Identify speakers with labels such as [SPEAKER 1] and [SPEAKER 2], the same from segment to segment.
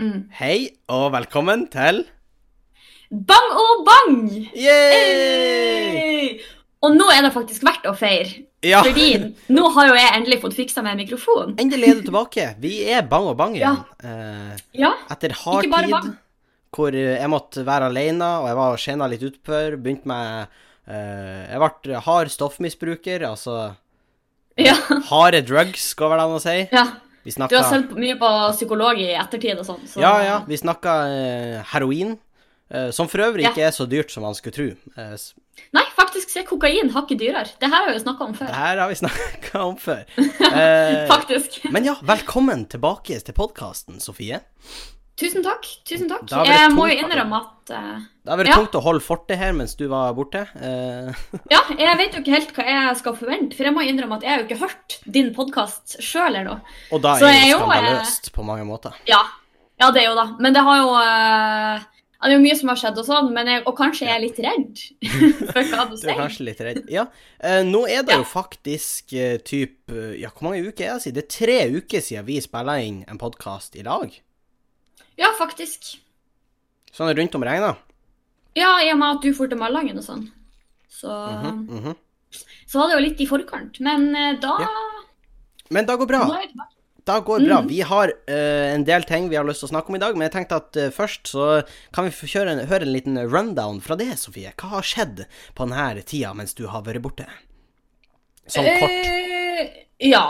[SPEAKER 1] Mm.
[SPEAKER 2] Hei og velkommen til
[SPEAKER 1] Bang og bang!
[SPEAKER 2] Yay!
[SPEAKER 1] Hey! Og nå er det faktisk verdt å feire,
[SPEAKER 2] Ja,
[SPEAKER 1] fordi nå har jo jeg endelig fått fiksa meg en mikrofon.
[SPEAKER 2] endelig er du tilbake. Vi er bang og bang igjen.
[SPEAKER 1] Ja.
[SPEAKER 2] Eh,
[SPEAKER 1] Ja,
[SPEAKER 2] etter hard
[SPEAKER 1] Ikke bare
[SPEAKER 2] tid
[SPEAKER 1] bang.
[SPEAKER 2] hvor eh, jeg måtte være alene, og jeg var skjena litt utfor, begynte med eh, Jeg ble hard stoffmisbruker, altså eh,
[SPEAKER 1] ja,
[SPEAKER 2] harde drugs, går vel an å si.
[SPEAKER 1] ja.
[SPEAKER 2] Vi
[SPEAKER 1] Du har
[SPEAKER 2] snakka
[SPEAKER 1] sett mye på psykolog i ettertid og sånn. Så...
[SPEAKER 2] Ah. Ja, ja, vi snakka eh, heroin. eh, som for øvrig
[SPEAKER 1] Ja.
[SPEAKER 2] ikke er så dyrt som man skulle tro. Eh, s-
[SPEAKER 1] Nei, faktisk så er kokain hakket dyrere. Det her har vi jo snakka om
[SPEAKER 2] det
[SPEAKER 1] før.
[SPEAKER 2] her har vi snakka om før. Eh,
[SPEAKER 1] Faktisk.
[SPEAKER 2] Men ja, velkommen tilbake til podkasten, Sofie.
[SPEAKER 1] Tusen takk. tusen takk.
[SPEAKER 2] Da har vi
[SPEAKER 1] Jeg
[SPEAKER 2] det
[SPEAKER 1] må jo
[SPEAKER 2] tungt, da.
[SPEAKER 1] innrømme at eh,
[SPEAKER 2] Det har vært
[SPEAKER 1] Ja.
[SPEAKER 2] tungt å holde fortet her mens du var borte. Eh,
[SPEAKER 1] Ja, jeg vet jo ikke helt hva jeg skal forvente, for jeg må innrømme at jeg har jo ikke hørt din podkast sjøl ennå.
[SPEAKER 2] og da
[SPEAKER 1] Så
[SPEAKER 2] er det
[SPEAKER 1] jeg er jo, eh,
[SPEAKER 2] skandaløst på mange måter.
[SPEAKER 1] Ja. ja, det er jo da. Men det har jo eh, ja, Det er jo mye som har skjedd og sånn, men jeg, og kanskje jeg er litt redd for hva du
[SPEAKER 2] Du er
[SPEAKER 1] sier.
[SPEAKER 2] kanskje litt redd. Ja, eh, nå er det
[SPEAKER 1] Ja.
[SPEAKER 2] jo faktisk eh, typ eh, Ja, hvor mange uker er det siden? Det er tre uker siden vi spilla inn en podkast i lag.
[SPEAKER 1] Ja, faktisk.
[SPEAKER 2] Sånn rundt om regna.
[SPEAKER 1] Ja, i og med at du dro til Malangen og sånn. Så,
[SPEAKER 2] Mhm, mhm.
[SPEAKER 1] så var det jo litt i forkant. Men eh, da
[SPEAKER 2] Men det går bra.
[SPEAKER 1] nå er jeg tilbake.
[SPEAKER 2] Da går det bra.
[SPEAKER 1] Mm.
[SPEAKER 2] Vi har eh, en del ting vi har lyst til å snakke om i dag, men jeg tenkte at eh, først så kan vi få kjøre en, høre en liten rundown fra det, Sofie. Hva har skjedd på denne tida mens du har vært borte? Sånn kort.
[SPEAKER 1] Eh, ja.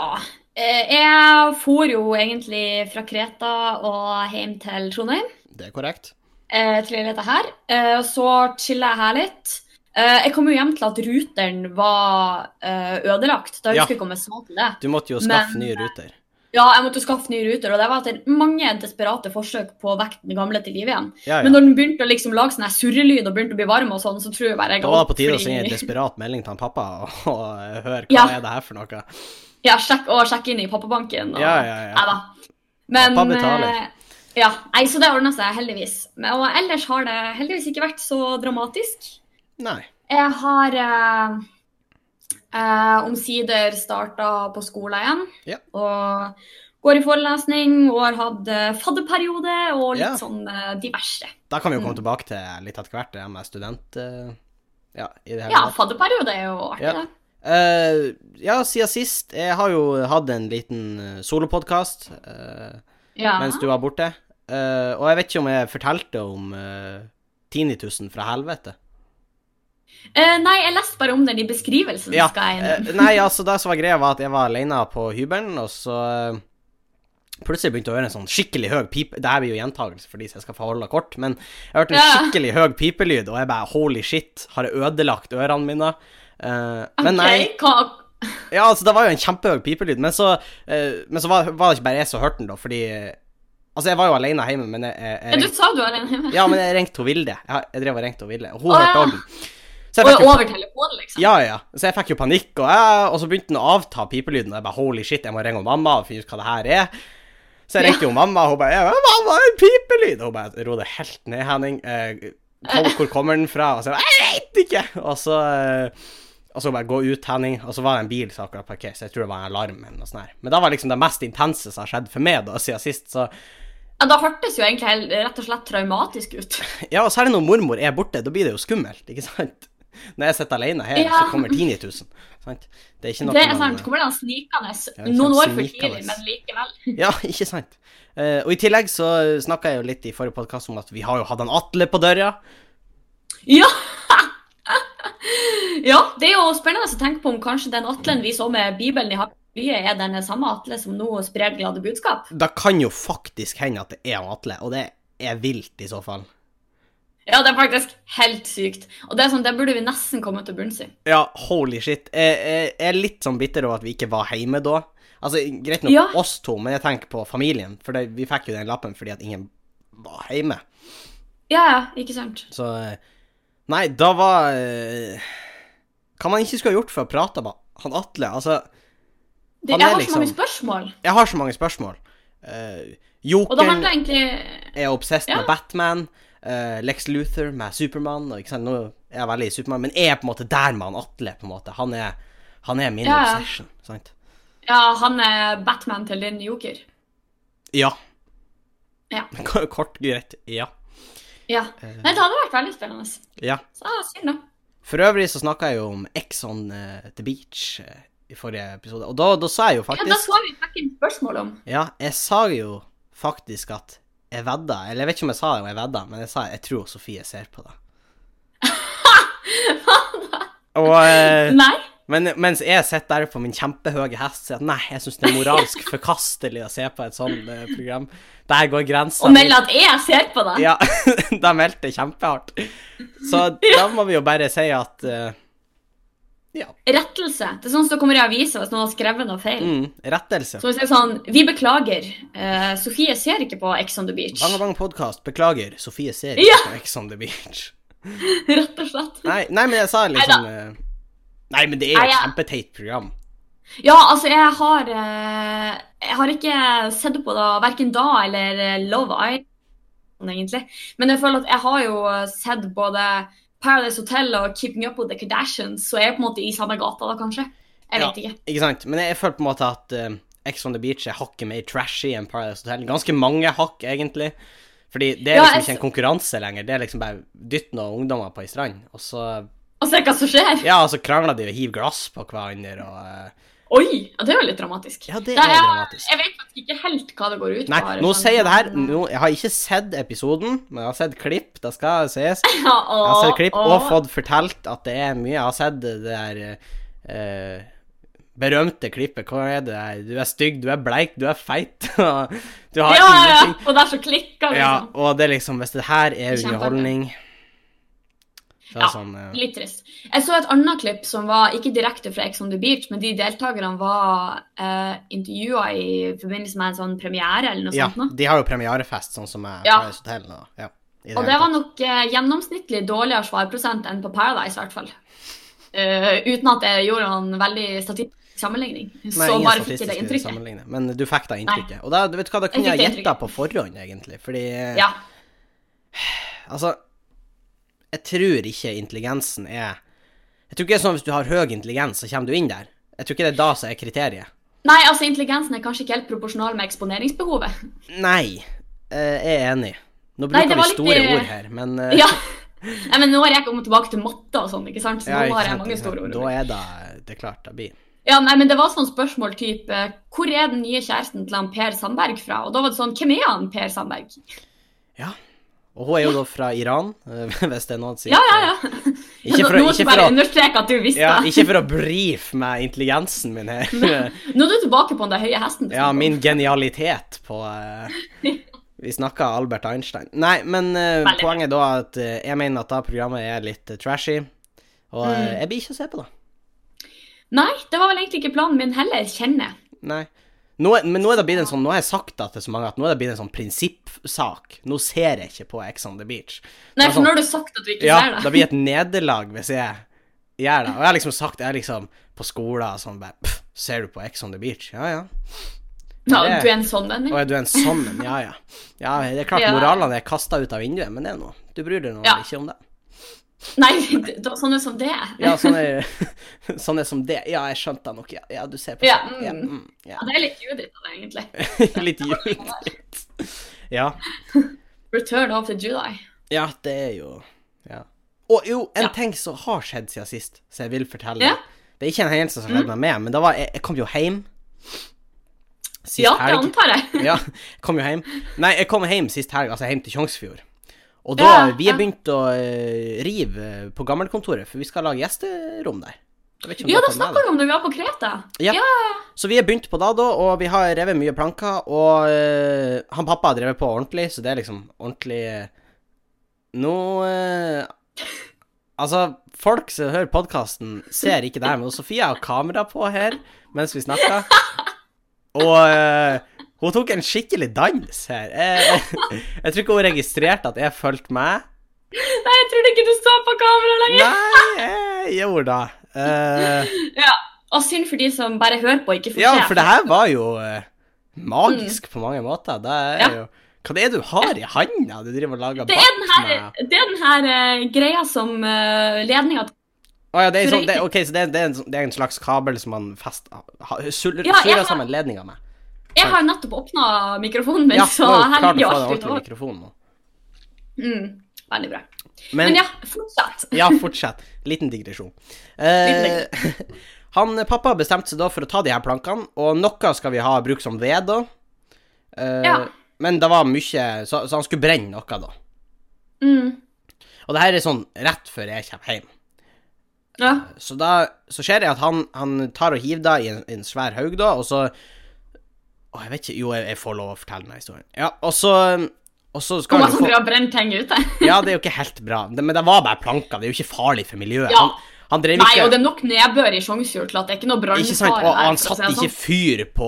[SPEAKER 1] Eh, jeg for jo egentlig fra Kreta og hjem til Trondheim.
[SPEAKER 2] Det er korrekt.
[SPEAKER 1] eh, til dette her. Eh, og så chilla jeg her litt. Eh, jeg kom jo hjem til at ruteren var eh, ødelagt.
[SPEAKER 2] Ja.
[SPEAKER 1] Da husker jeg ikke om jeg sa til det.
[SPEAKER 2] Du måtte jo skaffe
[SPEAKER 1] Men-
[SPEAKER 2] nye ruter.
[SPEAKER 1] Ja, jeg måtte skaffe ny ruter, og det var etter mange desperate forsøk på å vekke den gamle til live igjen.
[SPEAKER 2] Ja,
[SPEAKER 1] Men
[SPEAKER 2] ja.
[SPEAKER 1] når den begynte å liksom lage sånn her surrelyd og begynte å bli varm og sånn, så tror jeg bare jeg
[SPEAKER 2] Da var det på tide å sende en
[SPEAKER 1] fordi-
[SPEAKER 2] desperat melding til han pappa og, og eh, høre hva
[SPEAKER 1] Ja.
[SPEAKER 2] er det her for noe.
[SPEAKER 1] Ja, sjekk, og sjekke inn i pappabanken. Og...
[SPEAKER 2] Ja, ja, ja.
[SPEAKER 1] Nei da. Men
[SPEAKER 2] Pappa betaler.
[SPEAKER 1] eh, Ja. Nei, så det ordna seg, heldigvis. Men- Og ellers har det heldigvis ikke vært så dramatisk.
[SPEAKER 2] Nei.
[SPEAKER 1] Jeg har eh, eh, omsider starta på skolen igjen.
[SPEAKER 2] Ja.
[SPEAKER 1] Og går i forelesning og har hatt eh, fadderperiode og litt
[SPEAKER 2] Ja.
[SPEAKER 1] sånn eh, diverse.
[SPEAKER 2] Da kan vi jo komme
[SPEAKER 1] Mm.
[SPEAKER 2] tilbake til litt etter hvert, det med student... eh, ja, i det hele
[SPEAKER 1] Ja,
[SPEAKER 2] tatt.
[SPEAKER 1] fadderperiode er jo artig,
[SPEAKER 2] Ja.
[SPEAKER 1] det.
[SPEAKER 2] Eh, ja, siden sist. Jeg har jo hatt en liten eh, solopodkast eh,
[SPEAKER 1] Ja.
[SPEAKER 2] mens du var borte. Eh, og jeg vet ikke om jeg fortalte om eh, Tinitusen fra helvete.
[SPEAKER 1] Eh, nei, jeg leste bare om den i beskrivelsen.
[SPEAKER 2] Ja,
[SPEAKER 1] skal jeg innrømme.
[SPEAKER 2] Eh, nei, altså, det som var greia, var at jeg var alene på hybelen, og så eh, Plutselig begynte jeg å høre en sånn skikkelig høy pipe Det her blir jo gjentagelse for de som jeg skal få holde kort, men jeg hørte en
[SPEAKER 1] Ja.
[SPEAKER 2] skikkelig høy pipelyd, og jeg bare holy shit, har jeg ødelagt ørene mine? Eh, Men nei,
[SPEAKER 1] Ok, hva-
[SPEAKER 2] Ja, altså, det var jo en kjempehøy pipelyd, men så, eh, men så var, var det ikke bare jeg som hørte den, da, fordi eh, Altså, jeg var jo alene hjemme, men jeg, jeg,
[SPEAKER 1] ja,
[SPEAKER 2] jeg
[SPEAKER 1] du
[SPEAKER 2] ringte,
[SPEAKER 1] sa du var alene hjemme.
[SPEAKER 2] Ja, men jeg ringte hun Vilde. Jeg, har- jeg drev og ringte hun Vilde, og hun
[SPEAKER 1] Å,
[SPEAKER 2] hørte
[SPEAKER 1] ja.
[SPEAKER 2] også den. Så jeg
[SPEAKER 1] Og
[SPEAKER 2] fikk jo
[SPEAKER 1] over telefonen, liksom.
[SPEAKER 2] Ja, ja. Så jeg fikk jo panikk, og, jeg, og så begynte den å avta pipelyden, og jeg bare holy shit, jeg må ringe hun mamma og finne ut hva det her er. Så jeg ringte jo mamma, og hun bare ja, 'Mamma, en pipelyd!' Og hun bare ro det helt ned, Henning. Eh, hvor, hvor kommer den fra? Og så jeg bare, 'Jeg veit ikke!' Og så eh, og så bare gå ut, Henning. Og så var det en bil som akkurat parkerte, så jeg tror det var en alarm eller noe sånt. her. Men det var liksom det mest intense som har skjedd for meg da, siden sist, så
[SPEAKER 1] Ja, da hørtes jo egentlig helt, rett og slett traumatisk ut.
[SPEAKER 2] Ja, og særlig når mormor er borte, da blir det jo skummelt, ikke sant? Når jeg sitter alene her,
[SPEAKER 1] Ja.
[SPEAKER 2] så kommer tinitusen. Sant? Det er ikke noe
[SPEAKER 1] Det er
[SPEAKER 2] man-
[SPEAKER 1] sant. Kommer den snikende?
[SPEAKER 2] Ja, sånn den
[SPEAKER 1] Noen
[SPEAKER 2] kommer
[SPEAKER 1] år for tidlig,
[SPEAKER 2] snikende.
[SPEAKER 1] men likevel.
[SPEAKER 2] Ja, ikke sant. Eh, og i tillegg så snakka jeg jo litt i forrige podkast om at vi har jo hatt en Atle på døra.
[SPEAKER 1] Ja! ja, det er jo spennende å tenke på om kanskje den Atlen vi så med Bibelen i Hakkebye, er den samme Atle som nå sprer glade budskap.
[SPEAKER 2] Det kan jo faktisk hende at det er en Atle, og det er vilt i så fall.
[SPEAKER 1] Ja, det er faktisk helt sykt. Og det er sånn, det burde vi nesten komme til bunns i.
[SPEAKER 2] Ja, holy shit. Jeg, jeg, jeg er litt sånn bitter over at vi ikke var hjemme da. Altså, Greit nok
[SPEAKER 1] Ja.
[SPEAKER 2] oss to, men jeg tenker på familien. For det, vi fikk jo den lappen fordi at ingen var hjemme.
[SPEAKER 1] Ja, ja, ikke sant?
[SPEAKER 2] Så eh, Nei, da var eh, Hva man ikke skulle ha gjort for å prate med han Atle? Altså,
[SPEAKER 1] Det,
[SPEAKER 2] Han
[SPEAKER 1] jeg
[SPEAKER 2] er
[SPEAKER 1] har så
[SPEAKER 2] liksom-
[SPEAKER 1] mange spørsmål.
[SPEAKER 2] jeg har så mange spørsmål. Eh,
[SPEAKER 1] Og da
[SPEAKER 2] Jokeren
[SPEAKER 1] handler det egentlig
[SPEAKER 2] er obsessed
[SPEAKER 1] Ja.
[SPEAKER 2] med Batman. eh, Lex Luthor med Supermann. og Ikke sant, nå er jeg veldig i Supermann, men jeg er på en måte der med han Atle. på en måte. Han er, han er min
[SPEAKER 1] Ja, ja.
[SPEAKER 2] obsession. sant?
[SPEAKER 1] Ja, han er Batman til din joker.
[SPEAKER 2] Ja.
[SPEAKER 1] Ja.
[SPEAKER 2] Kort, greit. Ja.
[SPEAKER 1] Ja.
[SPEAKER 2] Eh,
[SPEAKER 1] Nei, det hadde vært veldig spennende.
[SPEAKER 2] ja.
[SPEAKER 1] Så ah, synd, da.
[SPEAKER 2] For øvrig så snakka jeg jo om Ex on eh, the Beach eh, i forrige episode, og da, da sa jeg jo
[SPEAKER 1] Ja, da
[SPEAKER 2] faktisk
[SPEAKER 1] skal vi trekke inn spørsmål om.
[SPEAKER 2] Ja, jeg sa jo faktisk at jeg vedda, eller jeg vet ikke om jeg sa det, om jeg vedda, men jeg sa jeg tror Sofie ser på det. Og, eh,
[SPEAKER 1] Nei?
[SPEAKER 2] men mens jeg sitter der på min kjempehøye hest og sier at nei, jeg syns det er moralsk forkastelig å se på et sånt eh, program. Der går grensa.
[SPEAKER 1] Og melde at jeg ser på deg?
[SPEAKER 2] Ja, de meldte kjempehardt. Så da må vi jo bare si at eh,
[SPEAKER 1] Rettelse. Det er sånn som det kommer i avisa hvis noen har skrevet noe feil.
[SPEAKER 2] mm, rettelse.
[SPEAKER 1] Så hvis det er sånn Vi beklager. eh, Sofie ser ikke på Ex on the Beach.
[SPEAKER 2] Bang og Bang Podcast, beklager, Sofie ser
[SPEAKER 1] Ja.
[SPEAKER 2] ikke på Ex on the Beach.
[SPEAKER 1] Rett og slett.
[SPEAKER 2] Nei, nei, men jeg sa liksom eh, Nei, men det er jo
[SPEAKER 1] Nei,
[SPEAKER 2] et
[SPEAKER 1] ja.
[SPEAKER 2] kjempeteit program.
[SPEAKER 1] Ja, altså, jeg har eh, Jeg har ikke sett på det verken da eller eh, Love Island, egentlig. Men jeg føler at jeg har jo eh, sett både Paradise Hotel og Keeping Up With The Kardashians, så jeg er på en måte i samme gata da, kanskje. Jeg vet ikke.
[SPEAKER 2] Ikke sant? Men jeg føler på en måte at eh, Ex on the Beach er hakket mer trashy enn Paradise Hotel. Ganske mange hakk, egentlig. Fordi det er
[SPEAKER 1] Ja,
[SPEAKER 2] liksom
[SPEAKER 1] jeg
[SPEAKER 2] ikke en konkurranse lenger. Det er liksom bare dytt noen ungdommer på ei strand, og så
[SPEAKER 1] Og se hva som skjer.
[SPEAKER 2] Ja, og så krangler de og hiver glass på hverandre og eh,
[SPEAKER 1] Oi! ja, Det er jo litt dramatisk.
[SPEAKER 2] Ja, det
[SPEAKER 1] Nei,
[SPEAKER 2] er
[SPEAKER 1] jeg-
[SPEAKER 2] dramatisk.
[SPEAKER 1] Jeg sånn vet faktisk ikke helt hva det går ut på.
[SPEAKER 2] Nei,
[SPEAKER 1] her,
[SPEAKER 2] nå
[SPEAKER 1] men-
[SPEAKER 2] sier jeg det her
[SPEAKER 1] eh,
[SPEAKER 2] nå, Jeg har ikke sett episoden, men jeg har sett klipp. Det skal sies. Jeg
[SPEAKER 1] Ja, og,
[SPEAKER 2] har sett klipp og
[SPEAKER 1] og-
[SPEAKER 2] fått fortalt at det er mye. Jeg har sett det der eh, berømte klippet. Hva er det der? Du er stygg, du er bleik, du er feit. og du
[SPEAKER 1] Ja,
[SPEAKER 2] har
[SPEAKER 1] ja, ja.
[SPEAKER 2] ingenting.
[SPEAKER 1] Og der så klikker det.
[SPEAKER 2] Ja,
[SPEAKER 1] liksom.
[SPEAKER 2] og det er liksom Hvis det her er
[SPEAKER 1] Kjempeartig.
[SPEAKER 2] underholdning Så er det
[SPEAKER 1] Ja.
[SPEAKER 2] sånn eh,
[SPEAKER 1] Litt trist. Jeg så et annet klipp som var ikke direkte fra Ex on the Beach, men de deltakerne var eh, intervjua i forbindelse med en sånn premiere eller noe
[SPEAKER 2] Ja,
[SPEAKER 1] sånt. nå.
[SPEAKER 2] de har jo premierefest, sånn som jeg
[SPEAKER 1] Ja.
[SPEAKER 2] Paradise Hotel nå. Ja, i
[SPEAKER 1] Og
[SPEAKER 2] hele
[SPEAKER 1] det var
[SPEAKER 2] tatt.
[SPEAKER 1] nok eh, gjennomsnittlig dårligere svarprosent enn på Paradise, i hvert fall. Eh, uten at jeg gjorde noen veldig statistisk sammenligning.
[SPEAKER 2] Nei,
[SPEAKER 1] så
[SPEAKER 2] ingen
[SPEAKER 1] bare fikk jeg det
[SPEAKER 2] statistiske
[SPEAKER 1] inntrykket.
[SPEAKER 2] sammenligning, Men du fikk da inntrykket. Og da, du vet hva, da kunne
[SPEAKER 1] fikk
[SPEAKER 2] jeg
[SPEAKER 1] det
[SPEAKER 2] gjetta
[SPEAKER 1] inntrykket.
[SPEAKER 2] på forhånd, egentlig. Fordi eh,
[SPEAKER 1] Ja.
[SPEAKER 2] Altså, jeg tror ikke intelligensen er Jeg tror ikke det er sånn hvis du har høy intelligens, så kommer du inn der. Jeg tror ikke det er da som er kriteriet.
[SPEAKER 1] Nei, altså intelligensen er kanskje ikke helt proporsjonal med eksponeringsbehovet.
[SPEAKER 2] Nei, eh, jeg er enig. Nå
[SPEAKER 1] Nei,
[SPEAKER 2] bruker
[SPEAKER 1] det var
[SPEAKER 2] vi
[SPEAKER 1] litt
[SPEAKER 2] store
[SPEAKER 1] i-
[SPEAKER 2] ord her, men eh,
[SPEAKER 1] Ja. Nei, men nå har jeg kommet tilbake til matte og sånn, ikke sant? Så
[SPEAKER 2] ja,
[SPEAKER 1] nå
[SPEAKER 2] ikke
[SPEAKER 1] har jeg
[SPEAKER 2] sant,
[SPEAKER 1] mange
[SPEAKER 2] ikke sant.
[SPEAKER 1] store ord.
[SPEAKER 2] Da er det, det er klart det blir
[SPEAKER 1] Ja, nei, men det var sånn spørsmål type Hvor er den nye kjæresten til han Per Sandberg fra? Og da var det sånn Hvem er han Per Sandberg?
[SPEAKER 2] Og hun er jo da fra Iran, eh, hvis det er noen som sier
[SPEAKER 1] Ja, ja, ja.
[SPEAKER 2] Ikke for, å-
[SPEAKER 1] Nå må du
[SPEAKER 2] ikke for
[SPEAKER 1] bare
[SPEAKER 2] å
[SPEAKER 1] understreke at du visste.
[SPEAKER 2] ja, Ikke for å brife med intelligensen min her.
[SPEAKER 1] Nå er du tilbake på den der høye hesten. liksom. du
[SPEAKER 2] Ja,
[SPEAKER 1] snakker om.
[SPEAKER 2] min genialitet på eh, Vi snakka Albert Einstein. Nei, men eh,
[SPEAKER 1] Veldig bra.
[SPEAKER 2] poenget da er at eh, jeg mener at da programmet er litt eh, trashy. Og
[SPEAKER 1] Mm.
[SPEAKER 2] eh, jeg blir ikke å se på det.
[SPEAKER 1] Nei, det var vel egentlig ikke planen min heller, kjenner jeg.
[SPEAKER 2] Nei. Nå, er- men nå er det blitt en sånn Nå har jeg sagt det til så mange at nå er det blitt en sånn prinsippsak. Nå ser jeg ikke på Ex on the Beach. Det er
[SPEAKER 1] Nei, for
[SPEAKER 2] sånn-
[SPEAKER 1] nå har du sagt at du ikke
[SPEAKER 2] Ja,
[SPEAKER 1] ser
[SPEAKER 2] det
[SPEAKER 1] det.
[SPEAKER 2] blir et nederlag hvis jeg gjør det. Og jeg har liksom sagt Jeg er liksom på skolen og sånn bare «Pff, Ser du på Ex on the Beach? Ja, ja.
[SPEAKER 1] Ja,
[SPEAKER 2] det-
[SPEAKER 1] du er en sånn en.
[SPEAKER 2] Å ja, du er en sånn en, ja ja. Ja, det er klart
[SPEAKER 1] Ja.
[SPEAKER 2] moralene er kasta ut av vinduet, men det er noe. Du bryr deg nå
[SPEAKER 1] Ja.
[SPEAKER 2] ikke om det.
[SPEAKER 1] Nei, det- det- sånne som det. er.
[SPEAKER 2] Ja, sånn er, sånn er som det. Ja, jeg skjønte det nok, ja. ja du ser på
[SPEAKER 1] Ja,
[SPEAKER 2] sånn. Ja, mm,
[SPEAKER 1] mm.
[SPEAKER 2] ja.
[SPEAKER 1] Ja, det er litt Judith av det, egentlig.
[SPEAKER 2] Litt judit. Ja.
[SPEAKER 1] Return of the Jedi.
[SPEAKER 2] ja, det er jo Ja. Og jo, en
[SPEAKER 1] Ja.
[SPEAKER 2] ting som har skjedd siden sist, som jeg vil fortelle.
[SPEAKER 1] Ja. Mm.
[SPEAKER 2] Det er ikke en hendelse som skjedde meg med, men det var, jeg, jeg kom jo hjem sist
[SPEAKER 1] Ja, det
[SPEAKER 2] helg.
[SPEAKER 1] antar jeg.
[SPEAKER 2] Ja, jeg kom jo hjem. Nei, jeg kom hjem sist helg, altså hjem til Tjongsfjord. Og da,
[SPEAKER 1] Ja,
[SPEAKER 2] vi har
[SPEAKER 1] ja.
[SPEAKER 2] begynt å eh, rive eh, på gammelkontoret, for vi skal lage gjesterom der. Jeg vet ikke om
[SPEAKER 1] Ja,
[SPEAKER 2] du har
[SPEAKER 1] da
[SPEAKER 2] fått med
[SPEAKER 1] snakker vi om det vi var på Kreta.
[SPEAKER 2] Ja. Så vi har begynt på da, da, og vi har revet mye planker, og eh, han pappa har drevet på ordentlig, så det er liksom ordentlig eh, Nå eh, Altså, folk som hører podkasten, ser ikke det her, men Sofie har kamera på her mens vi snakker. Og eh, hun tok en skikkelig dans her. Jeg, jeg, jeg tror ikke hun registrerte at jeg fulgte med.
[SPEAKER 1] Nei, jeg trodde ikke du så på kamera lenger.
[SPEAKER 2] Nei, jeg gjorde det. Eh,
[SPEAKER 1] Ja, og synd for de som bare hører på og ikke får
[SPEAKER 2] Ja,
[SPEAKER 1] se.
[SPEAKER 2] for det her var jo eh, magisk på mange måter. Det er
[SPEAKER 1] Mm. Ja.
[SPEAKER 2] jo Hva det er du har i handa du driver og lager
[SPEAKER 1] Det er den her,
[SPEAKER 2] med?
[SPEAKER 1] det er den her eh, greia som uh, ledninga
[SPEAKER 2] Å ja, det er en sånn, det,
[SPEAKER 1] Tror
[SPEAKER 2] ok, så det er, det, er en, sånn- det er en slags kabel som man fest... Ha, ha, sul-
[SPEAKER 1] Ja, jeg
[SPEAKER 2] surrer
[SPEAKER 1] har-
[SPEAKER 2] sammen ledninga med.
[SPEAKER 1] Jeg har jo nettopp åpna mikrofonen min,
[SPEAKER 2] Ja,
[SPEAKER 1] så
[SPEAKER 2] nå
[SPEAKER 1] her
[SPEAKER 2] klarte
[SPEAKER 1] ligger
[SPEAKER 2] du
[SPEAKER 1] jo
[SPEAKER 2] å få
[SPEAKER 1] alt
[SPEAKER 2] deg ordentlig
[SPEAKER 1] utover.
[SPEAKER 2] mikrofon nå.
[SPEAKER 1] Mm, veldig bra. Men,
[SPEAKER 2] Men
[SPEAKER 1] ja, fortsett.
[SPEAKER 2] ja, fortsett. Liten digresjon. Eh, han eh, pappa bestemte seg da for å ta de her plankene, og noe skal vi ha bruk som ved, da. Eh,
[SPEAKER 1] Ja.
[SPEAKER 2] Men det var mye så, så han skulle brenne noe, da.
[SPEAKER 1] Mm,
[SPEAKER 2] Og det her er sånn rett før jeg kommer hjem.
[SPEAKER 1] ja.
[SPEAKER 2] Så da så skjer det at han, han tar og hiver deg i en, en svær haug, da, og så Å, jeg vet ikke Jo, jeg, jeg får lov å fortelle denne historien. Ja, og så Og så skal
[SPEAKER 1] Kommer
[SPEAKER 2] du
[SPEAKER 1] han
[SPEAKER 2] få
[SPEAKER 1] til å brenne ting ute?
[SPEAKER 2] Ja, det er jo ikke helt bra, Det- men det var bare planker. Det er jo ikke farlig for miljøet.
[SPEAKER 1] Ja.
[SPEAKER 2] Han, han drev
[SPEAKER 1] Nei,
[SPEAKER 2] ikke
[SPEAKER 1] og det er nok nedbør i Sjongsfjord til at det er ikke noe
[SPEAKER 2] Ikke sant?
[SPEAKER 1] brannfare
[SPEAKER 2] Og han satte
[SPEAKER 1] for å si det
[SPEAKER 2] ikke
[SPEAKER 1] sånn.
[SPEAKER 2] fyr på,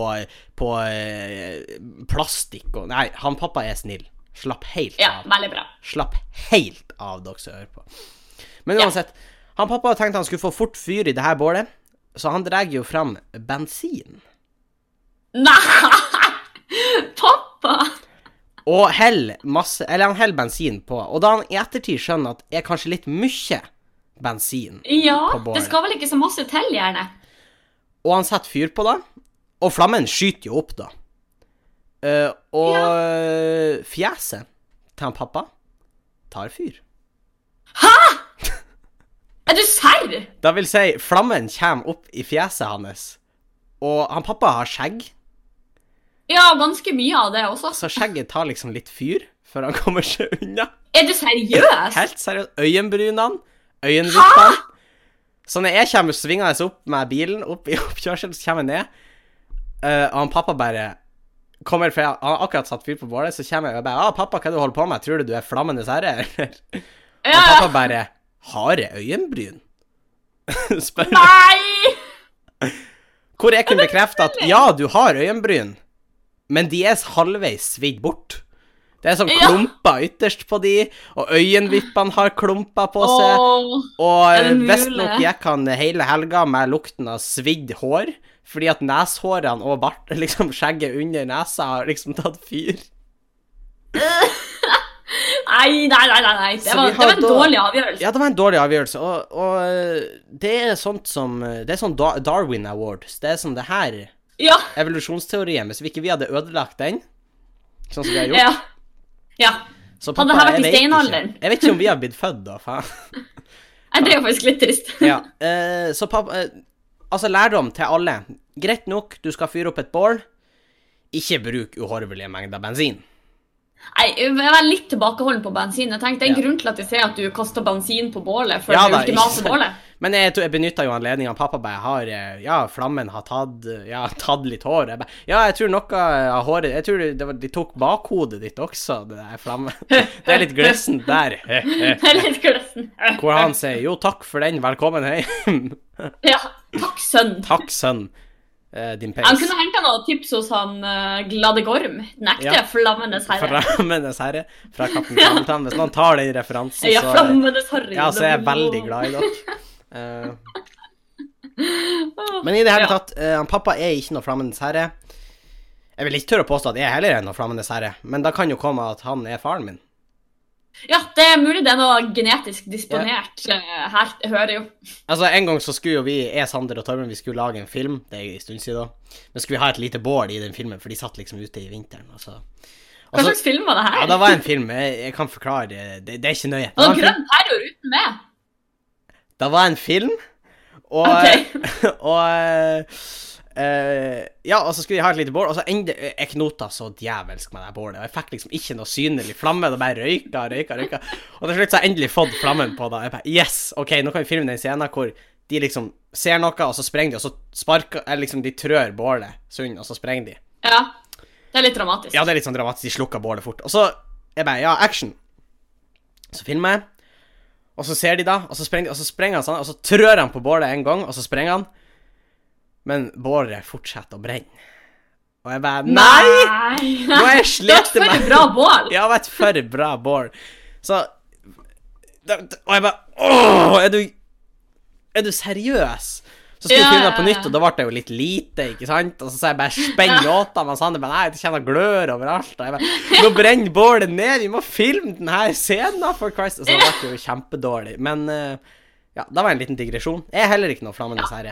[SPEAKER 2] på eh, plastikk og Nei, han pappa er snill. Slapp helt
[SPEAKER 1] Ja,
[SPEAKER 2] av.
[SPEAKER 1] veldig bra.
[SPEAKER 2] Slapp helt av, dere som hører på. Men
[SPEAKER 1] Ja.
[SPEAKER 2] uansett, han pappa tenkte han skulle få fort fyr i det her bålet, så han drar jo fram bensin
[SPEAKER 1] Nei! Pappa!
[SPEAKER 2] og heller masse Eller han heller bensin på, og da han i ettertid skjønner at det er kanskje litt mye bensin,
[SPEAKER 1] Ja,
[SPEAKER 2] På båren.
[SPEAKER 1] det skal vel ikke så masse til, gjerne.
[SPEAKER 2] og han setter fyr på det, og flammen skyter jo opp, da. Eh, og fjeset til han pappa tar fyr.
[SPEAKER 1] Er du serr?
[SPEAKER 2] Det vil si, flammen kommer opp i fjeset hans, og han pappa har skjegg.
[SPEAKER 1] Ja, ganske mye av det også.
[SPEAKER 2] Så skjegget tar liksom litt fyr før han kommer seg unna.
[SPEAKER 1] Er du seriøs?
[SPEAKER 2] Helt seriøst. Øyenbrynene, øyenvippene. Så når jeg kommer svingende opp med bilen opp i oppkjørselen, så kommer jeg ned, eh, og han pappa bare kommer, for jeg, Han har akkurat satt fyr på bålet, så kommer jeg og bare 'Ah, pappa, hva er det du holder på med? Tror du du er flammendes herre, eller?'
[SPEAKER 1] Ja,
[SPEAKER 2] Og
[SPEAKER 1] ja.
[SPEAKER 2] pappa bare 'Har jeg øyenbryn?' Spør han.
[SPEAKER 1] Nei!
[SPEAKER 2] Hvor jeg kunne bekrefte at ja, du har øyenbryn, men de er halvveis svidd bort. Det er sånn
[SPEAKER 1] Ja.
[SPEAKER 2] klumper ytterst på de, og øyenvippene har klumper på seg.
[SPEAKER 1] Åh, er det
[SPEAKER 2] Og
[SPEAKER 1] mulig?
[SPEAKER 2] visstnok gikk han hele helga med lukten av svidd hår, fordi at neshårene og bart, liksom skjegget under nesa har liksom tatt fyr.
[SPEAKER 1] Nei, nei, nei, nei, nei.
[SPEAKER 2] Så
[SPEAKER 1] Det var,
[SPEAKER 2] vi
[SPEAKER 1] det var
[SPEAKER 2] har
[SPEAKER 1] en
[SPEAKER 2] da-
[SPEAKER 1] dårlig avgjørelse.
[SPEAKER 2] Ja, det var en dårlig avgjørelse, og, og øh, det er sånt som Det er sånn Da- Darwin Awards. Det er sånn det her
[SPEAKER 1] Ja,
[SPEAKER 2] evolusjonsteorien. Hvis ikke vi hadde ødelagt den, sånn som vi har gjort
[SPEAKER 1] ja. Ja.
[SPEAKER 2] Så
[SPEAKER 1] Hadde her vært
[SPEAKER 2] jeg
[SPEAKER 1] i
[SPEAKER 2] vet ikke.
[SPEAKER 1] steinalderen?
[SPEAKER 2] Jeg vet ikke om vi har blitt født, da. faen.
[SPEAKER 1] Nei, Det er jo faktisk litt trist.
[SPEAKER 2] Ja. eh, så pappa eh, Altså, lærdom til alle. Greit nok, du skal fyre opp et bål. Ikke bruk uhorvelige mengder bensin.
[SPEAKER 1] Nei, jeg var litt tilbakeholden på bensin. Jeg tenkte, Det er en
[SPEAKER 2] Ja.
[SPEAKER 1] grunn til at jeg sier at du kaster bensin på bålet. for
[SPEAKER 2] Ja
[SPEAKER 1] det
[SPEAKER 2] da, ikke
[SPEAKER 1] ultimate
[SPEAKER 2] sant.
[SPEAKER 1] bålet.
[SPEAKER 2] Men jeg, tror- jeg benytta jo anledninga. Pappa bare har eh, Ja, flammen har tatt eh, Ja, tatt litt hår. Jeg bare Ja, jeg tror noe av håret Jeg tror det var, de tok bakhodet ditt også, det der flammen. Det er litt glissent der.
[SPEAKER 1] Det er litt gløssen.
[SPEAKER 2] Hvor han sier jo, takk for den, velkommen hjem.
[SPEAKER 1] Ja, Takk, sønn.
[SPEAKER 2] Takk, sønn. Eh, din peis.
[SPEAKER 1] Han kunne henta noen tips hos han eh, Glade Gorm. Den ekte
[SPEAKER 2] Ja.
[SPEAKER 1] flammendes herre.
[SPEAKER 2] Flammenes herre fra Kaptein Sabeltann. Hvis noen tar den referansen,
[SPEAKER 1] Ja,
[SPEAKER 2] så,
[SPEAKER 1] flammendes herre.
[SPEAKER 2] ja, så er jeg veldig glad i dere. Eh, men i det hele
[SPEAKER 1] Ja.
[SPEAKER 2] tatt, eh, han pappa er ikke noe Flammenes herre. Jeg vil ikke tørre å påstå at jeg heller er noe Flammenes herre, men da kan jo komme at han er faren min.
[SPEAKER 1] Ja, det er mulig det er noe genetisk disponert eh, her. Jeg hører jo.
[SPEAKER 2] Altså, En gang så skulle jo vi, jeg, Sander og Torben, vi skulle lage en film. Det er jo en stund siden. da. Men skulle vi ha et lite bål i den filmen, for de satt liksom ute i vinteren. og så... og
[SPEAKER 1] Hva
[SPEAKER 2] så-
[SPEAKER 1] slags film var det her?
[SPEAKER 2] Ja, det var en film. Jeg, jeg kan forklare det. Det, det er ikke nøye. Det
[SPEAKER 1] Og
[SPEAKER 2] var en film.
[SPEAKER 1] grønn terror uten meg.
[SPEAKER 2] Det var en film, og Og eh, Ja, og så skulle de ha et lite bål, og så enda, jeg knota så djevelsk med det bålet. Og jeg fikk liksom ikke noe synlig flamme. Det bare røyka og røyka, røyka. Og til slutt så har jeg endelig fått flammen på det. Jeg bare, yes, OK, nå kan vi filme den scenen hvor de liksom ser noe, og så sprenger de, og så sparker Eller liksom, de trør bålet sund, og så sprenger de.
[SPEAKER 1] Ja. Det er litt dramatisk.
[SPEAKER 2] Ja, det er litt sånn dramatisk. De slukker bålet fort. Og så jeg bare Ja, action. Så filmer jeg, og så ser de da, og så sprenger, og så sprenger han sånn, og så trør han på bålet en gang, og så sprenger han. Men bålet fortsetter å brenne. Og jeg bare Nei!
[SPEAKER 1] Nei.
[SPEAKER 2] Nå har jeg
[SPEAKER 1] Det var et
[SPEAKER 2] slitt
[SPEAKER 1] for bra bål.
[SPEAKER 2] Ja, det var et for bra bål. Så da- da- Og jeg bare Åh, er du Er du seriøs? Så skulle
[SPEAKER 1] Ja,
[SPEAKER 2] vi filme
[SPEAKER 1] ja,
[SPEAKER 2] det på nytt,
[SPEAKER 1] ja.
[SPEAKER 2] og da ble det jo litt lite, ikke sant? Og så sa jeg bare spenn låta, mens han bare Nei, det kjenner glør overalt. Og jeg bare Nå brenner bålet ned, vi må filme den her scenen, for Christ. Og så ble det jo kjempedårlig. Men eh, ja, det var en liten digresjon. Jeg er heller ikke noe flammende herre.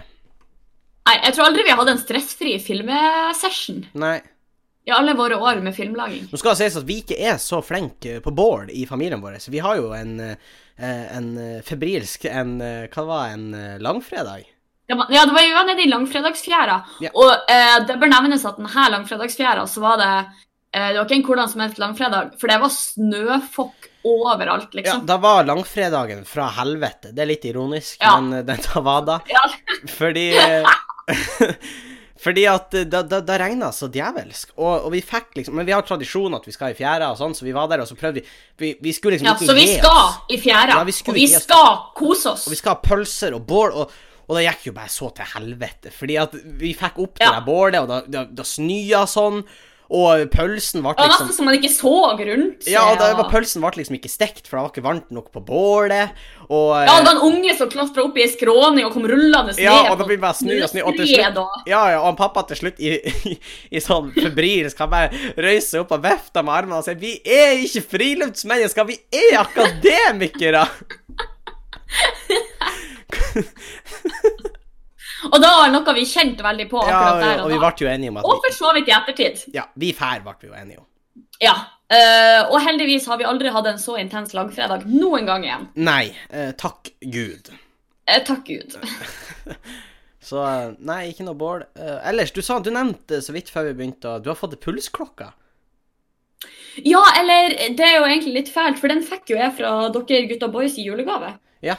[SPEAKER 1] Nei, jeg tror aldri vi har hatt en stressfri filmsession.
[SPEAKER 2] Nei.
[SPEAKER 1] I alle våre år med filmlaging.
[SPEAKER 2] Nå skal det sies at vi ikke er så flinke på bål i familien vår. Vi har jo en, eh, en eh, febrilsk en, eh, Hva var det, en eh, langfredag?
[SPEAKER 1] Det var, ja, det var, vi var nede i langfredagsfjæra.
[SPEAKER 2] Ja.
[SPEAKER 1] Og eh, det bør nevnes at denne langfredagsfjæra, så var det eh, Det var ikke en hvordan som helst langfredag, for det var snøfokk overalt,
[SPEAKER 2] Ja,
[SPEAKER 1] liksom.
[SPEAKER 2] da var langfredagen fra helvete. Det er litt ironisk,
[SPEAKER 1] Ja.
[SPEAKER 2] men eh, den da var da.
[SPEAKER 1] Ja.
[SPEAKER 2] Fordi eh, Fordi at eh, da, da, da regna så djevelsk. Og, og vi fikk liksom Men vi har tradisjon at vi skal i fjæra og sånn, så vi var der, og så prøvde vi Vi, vi skulle liksom
[SPEAKER 1] Ja,
[SPEAKER 2] ikke
[SPEAKER 1] så vi
[SPEAKER 2] gi oss.
[SPEAKER 1] skal i fjæra,
[SPEAKER 2] Ja, vi skulle
[SPEAKER 1] og vi
[SPEAKER 2] ikke gi oss.
[SPEAKER 1] skal kose oss.
[SPEAKER 2] Og vi skal ha pølser og bål, og, og det gikk jo bare så til helvete. Fordi at vi fikk opp det
[SPEAKER 1] Ja.
[SPEAKER 2] der bålet, og da, da, da snøa sånn, og pølsen ble
[SPEAKER 1] Det var
[SPEAKER 2] liksom
[SPEAKER 1] nesten så man ikke så rundt.
[SPEAKER 2] ja, og da
[SPEAKER 1] seg,
[SPEAKER 2] var pølsen ble liksom ikke stekt, for det var ikke varmt nok på bålet. Og,
[SPEAKER 1] Ja, det var en unge som klatra opp i ei skråning og kom rullende ned.
[SPEAKER 2] Eh, Ja, og
[SPEAKER 1] på
[SPEAKER 2] da blir det bare snø og snø. Og til
[SPEAKER 1] snøtreet,
[SPEAKER 2] slutt,
[SPEAKER 1] da.
[SPEAKER 2] ja, ja, og han pappa til slutt i, i, i sånn febrilsk han bare røyser opp og vifter med armene og sier 'Vi er ikke friluftsmennesker, vi er akademikere'.
[SPEAKER 1] Og da var det noe vi kjente veldig på
[SPEAKER 2] Ja,
[SPEAKER 1] akkurat der
[SPEAKER 2] og
[SPEAKER 1] og
[SPEAKER 2] vi
[SPEAKER 1] da.
[SPEAKER 2] ble jo enige om at
[SPEAKER 1] Og
[SPEAKER 2] vi,
[SPEAKER 1] for så vidt i ettertid.
[SPEAKER 2] Ja, vi fær ble vi jo enige om.
[SPEAKER 1] Ja. eh, og heldigvis har vi aldri hatt en så intens langfredag noen gang igjen.
[SPEAKER 2] Nei, eh, takk Gud.
[SPEAKER 1] Eh, takk Gud.
[SPEAKER 2] Så eh, nei, ikke noe bål. Eh, ellers, du sa du nevnte så vidt før vi begynte, og du har fått pulsklokka.
[SPEAKER 1] Ja, eller Det er jo egentlig litt fælt, for den fikk jo jeg fra dere gutta boys i julegave.
[SPEAKER 2] Ja,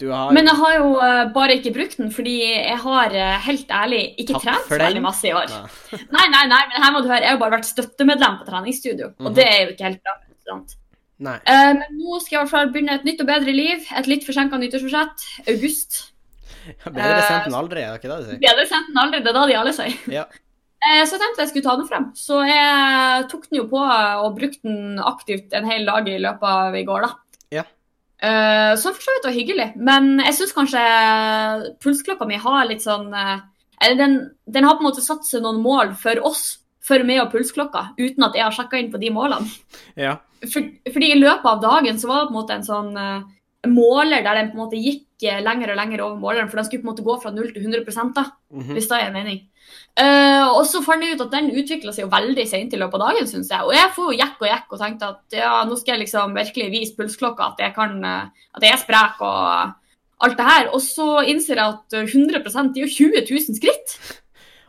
[SPEAKER 2] du har
[SPEAKER 1] Men jeg har jo eh, bare ikke brukt den, fordi jeg har eh, helt ærlig ikke
[SPEAKER 2] Takk
[SPEAKER 1] trent
[SPEAKER 2] for
[SPEAKER 1] så
[SPEAKER 2] den.
[SPEAKER 1] veldig masse i år.
[SPEAKER 2] Nei.
[SPEAKER 1] Nei, nei, nei, men her må du høre, jeg har jo bare vært støttemedlem på treningsstudio,
[SPEAKER 2] Mhm.
[SPEAKER 1] og det er jo ikke helt bra. ikke sant?
[SPEAKER 2] Nei.
[SPEAKER 1] Eh, men nå skal jeg i hvert fall begynne et nytt og bedre liv. Et litt forsinka nyttårsforsett. August.
[SPEAKER 2] Bedre
[SPEAKER 1] Eh,
[SPEAKER 2] sent enn aldri, er det ikke det du sier?
[SPEAKER 1] Bedre sendt enn aldri, det er da de alle sier.
[SPEAKER 2] Ja.
[SPEAKER 1] Eh, Så jeg tenkte jeg skulle ta den frem. Så jeg tok den jo på eh, og brukte den aktivt en hel dag i løpet av i går, da.
[SPEAKER 2] Ja.
[SPEAKER 1] Eh, Som for så vidt var hyggelig. Men jeg syns kanskje pulsklokka mi har litt sånn eh, eller den, den har på en måte satt seg noen mål for oss, for meg og pulsklokka, uten at jeg har sjekka inn på de målene.
[SPEAKER 2] Ja.
[SPEAKER 1] For, fordi i løpet av dagen så var det på en måte en sånn eh, måler der den på en måte gikk eh, lenger og lenger over måleren, for den skulle på en måte gå fra 0 til 100 da,
[SPEAKER 2] Mhm.
[SPEAKER 1] hvis det er en mening. Eh, og så fant jeg ut at den utvikla seg jo veldig sent i løpet av dagen, syns jeg. Og jeg får jo jekk og jekk og tenkte at ja, nå skal jeg liksom virkelig vise pulsklokka at jeg kan eh, at jeg er sprek og alt det her. Og så innser jeg at eh, 100 det er jo 20 000 skritt.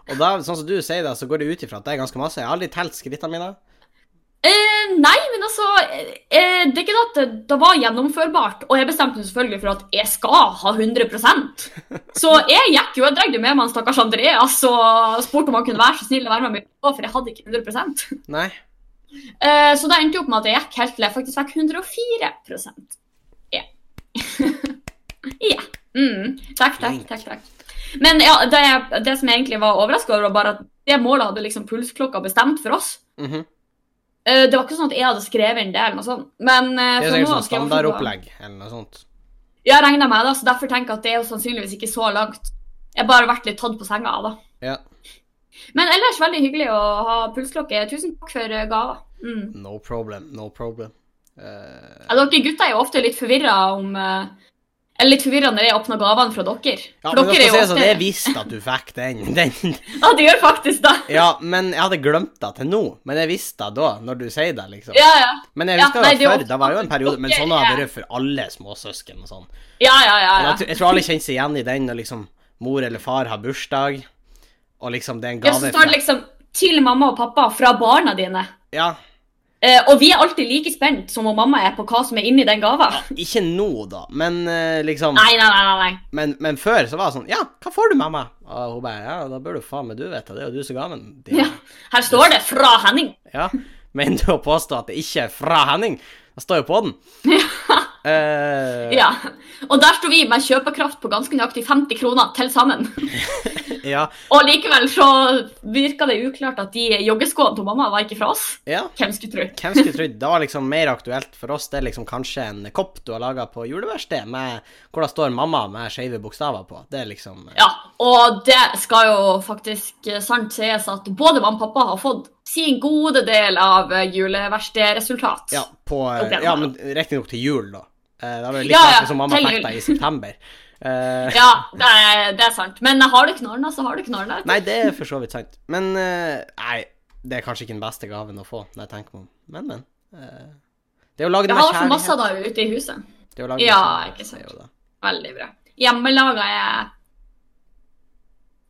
[SPEAKER 2] Og da, sånn som du sier det, så går det ut ifra at det er ganske masse. Jeg har aldri telt skrittene mine.
[SPEAKER 1] Eh, nei, men altså eh, eh, Det er ikke det at det, det var gjennomførbart. Og jeg bestemte meg selvfølgelig for at jeg skal ha 100 Så jeg gikk jo, jeg drar det med meg en stakkars Andreas og spurte om han kunne være så snill å være med meg, på, for jeg hadde ikke 100
[SPEAKER 2] Nei.
[SPEAKER 1] eh, Så det endte jo opp med at jeg gikk helt til jeg faktisk fikk 104 Ja. ja. Mm. Takk, takk, takk. takk. Men ja, det, det som jeg egentlig var overraska over, var bare at det målet hadde liksom pulsklokka bestemt for oss.
[SPEAKER 2] Mhm.
[SPEAKER 1] Eh, Det var ikke sånn at jeg hadde skrevet inn det, eller noe sånt. Men eh,
[SPEAKER 2] Det er
[SPEAKER 1] for
[SPEAKER 2] sikkert
[SPEAKER 1] nå
[SPEAKER 2] sånn
[SPEAKER 1] skal jeg også-
[SPEAKER 2] standardopplegg eller noe sånt.
[SPEAKER 1] Ja, Jeg regna med det, så derfor tenker jeg at det er jo sannsynligvis ikke så langt. Jeg har bare vært litt tatt på senga av det.
[SPEAKER 2] Ja.
[SPEAKER 1] Men ellers veldig hyggelig å ha pulsklokke. Tusen takk for eh, gava. Mm.
[SPEAKER 2] No problem, no problem. Eh,
[SPEAKER 1] Ja, dere gutter er jo ofte litt forvirra om eh, Eller litt forvirra når jeg åpner gavene fra dere.
[SPEAKER 2] ja,
[SPEAKER 1] for
[SPEAKER 2] men
[SPEAKER 1] dere
[SPEAKER 2] nå skal
[SPEAKER 1] er jo
[SPEAKER 2] jeg si
[SPEAKER 1] ofte
[SPEAKER 2] at jeg visste at du fikk den. den.
[SPEAKER 1] Ja, det gjør faktisk det.
[SPEAKER 2] Ja, men jeg hadde glemt det til nå. Men jeg visste det da, når du sier det, liksom.
[SPEAKER 1] Ja, ja.
[SPEAKER 2] Men jeg
[SPEAKER 1] Ja,
[SPEAKER 2] husker
[SPEAKER 1] nei, det
[SPEAKER 2] det
[SPEAKER 1] er
[SPEAKER 2] før,
[SPEAKER 1] ofte
[SPEAKER 2] det var jo en
[SPEAKER 1] at
[SPEAKER 2] periode, men
[SPEAKER 1] dere
[SPEAKER 2] sånn har
[SPEAKER 1] er-
[SPEAKER 2] det vært for alle småsøsken og sånn.
[SPEAKER 1] ja, ja, ja,
[SPEAKER 2] Men
[SPEAKER 1] ja.
[SPEAKER 2] Jeg, tror- jeg tror alle kjenner seg igjen i den når liksom mor eller far har bursdag, og liksom det er en
[SPEAKER 1] ja
[SPEAKER 2] gave.
[SPEAKER 1] så står det liksom til mamma og pappa fra barna dine.
[SPEAKER 2] Ja,
[SPEAKER 1] Eh, og vi er alltid like spent som om mamma er på hva som er inni den gava.
[SPEAKER 2] ikke nå da, men eh, liksom,
[SPEAKER 1] Nei, nei, nei, nei, nei.
[SPEAKER 2] men, men før så var det sånn, ja, hva får du mamma? Og hun bare, ja, da bør du faen meg du vet det, det er jo du som ga den. Det-
[SPEAKER 1] Ja. Her står det 'fra Henning'.
[SPEAKER 2] Ja, men du å påstå at det ikke er fra Henning, det står jo på den. Eh,
[SPEAKER 1] Ja. Og der sto vi med kjøpekraft på ganske nøyaktig 50 kroner til sammen.
[SPEAKER 2] ja,
[SPEAKER 1] Og likevel så virka det uklart at de joggeskoene til mamma var ikke fra oss.
[SPEAKER 2] ja.
[SPEAKER 1] Hvem skulle tro.
[SPEAKER 2] Hvem skulle trodd? Det var liksom mer aktuelt for oss. Det er liksom kanskje en kopp du har laga på juleverksted, med- hvor det står 'mamma' med skeive bokstaver på. Det er liksom eh,
[SPEAKER 1] Ja, og det skal jo faktisk eh, sant sies at både mamma og pappa har fått sin gode del av eh, juleverkstedresultat.
[SPEAKER 2] Ja, på, eh,
[SPEAKER 1] Opp igjen,
[SPEAKER 2] ja
[SPEAKER 1] da.
[SPEAKER 2] men riktignok til jul, da. Eh, Det var jo litt
[SPEAKER 1] Ja, ja,
[SPEAKER 2] artig som mamma
[SPEAKER 1] til
[SPEAKER 2] fikk
[SPEAKER 1] jul.
[SPEAKER 2] deg i september. Eh,
[SPEAKER 1] Ja, det er, det er sant. Men har du knarna, så har du knarna.
[SPEAKER 2] Nei, det er for så vidt sant. Men eh, nei, Det er kanskje ikke den beste gaven å få, når jeg tenker meg om. Men, men. eh, Det er jo lagd
[SPEAKER 1] Jeg
[SPEAKER 2] med
[SPEAKER 1] har for masse
[SPEAKER 2] kjærlighet.
[SPEAKER 1] da ute i huset.
[SPEAKER 2] Det er jo laget med
[SPEAKER 1] Ja,
[SPEAKER 2] kjærlighet,
[SPEAKER 1] ikke sant.
[SPEAKER 2] det er jo det.
[SPEAKER 1] Veldig bra. Hjemmelaga er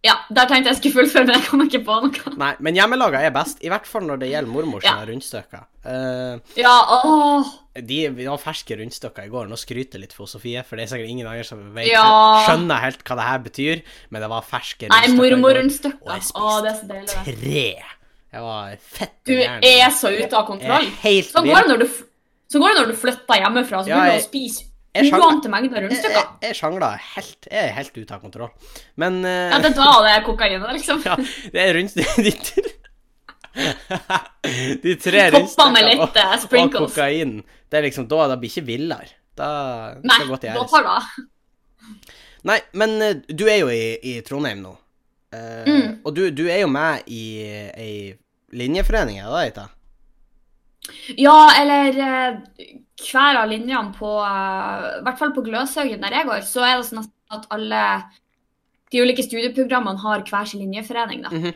[SPEAKER 1] Ja, der tenkte jeg skulle fullføre, men jeg kom ikke på noe.
[SPEAKER 2] Nei, men hjemmelaga er best, i hvert fall når det gjelder mormors
[SPEAKER 1] Ja.
[SPEAKER 2] rundstykker. Eh,
[SPEAKER 1] Ja, åh.
[SPEAKER 2] de vi har ferske rundstykker i går. Nå skryter jeg litt for Sofie, for det er sikkert ingen andre som vet,
[SPEAKER 1] Ja.
[SPEAKER 2] skjønner helt hva det her betyr, men det var ferske
[SPEAKER 1] Nei,
[SPEAKER 2] i går. Og
[SPEAKER 1] mormorrundstykker.
[SPEAKER 2] jeg
[SPEAKER 1] Å, det er så
[SPEAKER 2] spiste
[SPEAKER 1] deilig. det.
[SPEAKER 2] tre. Jeg var fett
[SPEAKER 1] Du
[SPEAKER 2] gæren.
[SPEAKER 1] er så ute
[SPEAKER 2] Jeg
[SPEAKER 1] av
[SPEAKER 2] er
[SPEAKER 1] kontroll.
[SPEAKER 2] helt
[SPEAKER 1] Sånn går det når du, f- sånn går det når du flytter hjemmefra, så
[SPEAKER 2] Ja,
[SPEAKER 1] begynner du
[SPEAKER 2] jeg-
[SPEAKER 1] å spise
[SPEAKER 2] jeg skjønner-
[SPEAKER 1] uante mengder
[SPEAKER 2] Jeg,
[SPEAKER 1] rundstykker.
[SPEAKER 2] jeg, jeg sjangla helt. Jeg er helt ute av kontroll. Men eh,
[SPEAKER 1] Ja, det er da det er kokain, liksom.
[SPEAKER 2] ja, det er rundt de, tre- de tre
[SPEAKER 1] Toppa med
[SPEAKER 2] rundstykkene og,
[SPEAKER 1] litt eh,
[SPEAKER 2] og
[SPEAKER 1] sprinkles.
[SPEAKER 2] kokain. Det er liksom, da, da blir ikke villere. Da
[SPEAKER 1] Nei,
[SPEAKER 2] skal det gå til
[SPEAKER 1] da
[SPEAKER 2] æres.
[SPEAKER 1] tar det av.
[SPEAKER 2] Nei, men eh, du er jo i, i Trondheim nå. Eh,
[SPEAKER 1] Mm.
[SPEAKER 2] Og du, du er jo med i ei linjeforening, er det det heter?
[SPEAKER 1] Ja, eller eh, hver av linjene på eh, I hvert fall på Gløshaugen der jeg går, så er det sånn at- at alle de ulike studieprogrammene har hver sin linjeforening, da.
[SPEAKER 2] Mhm.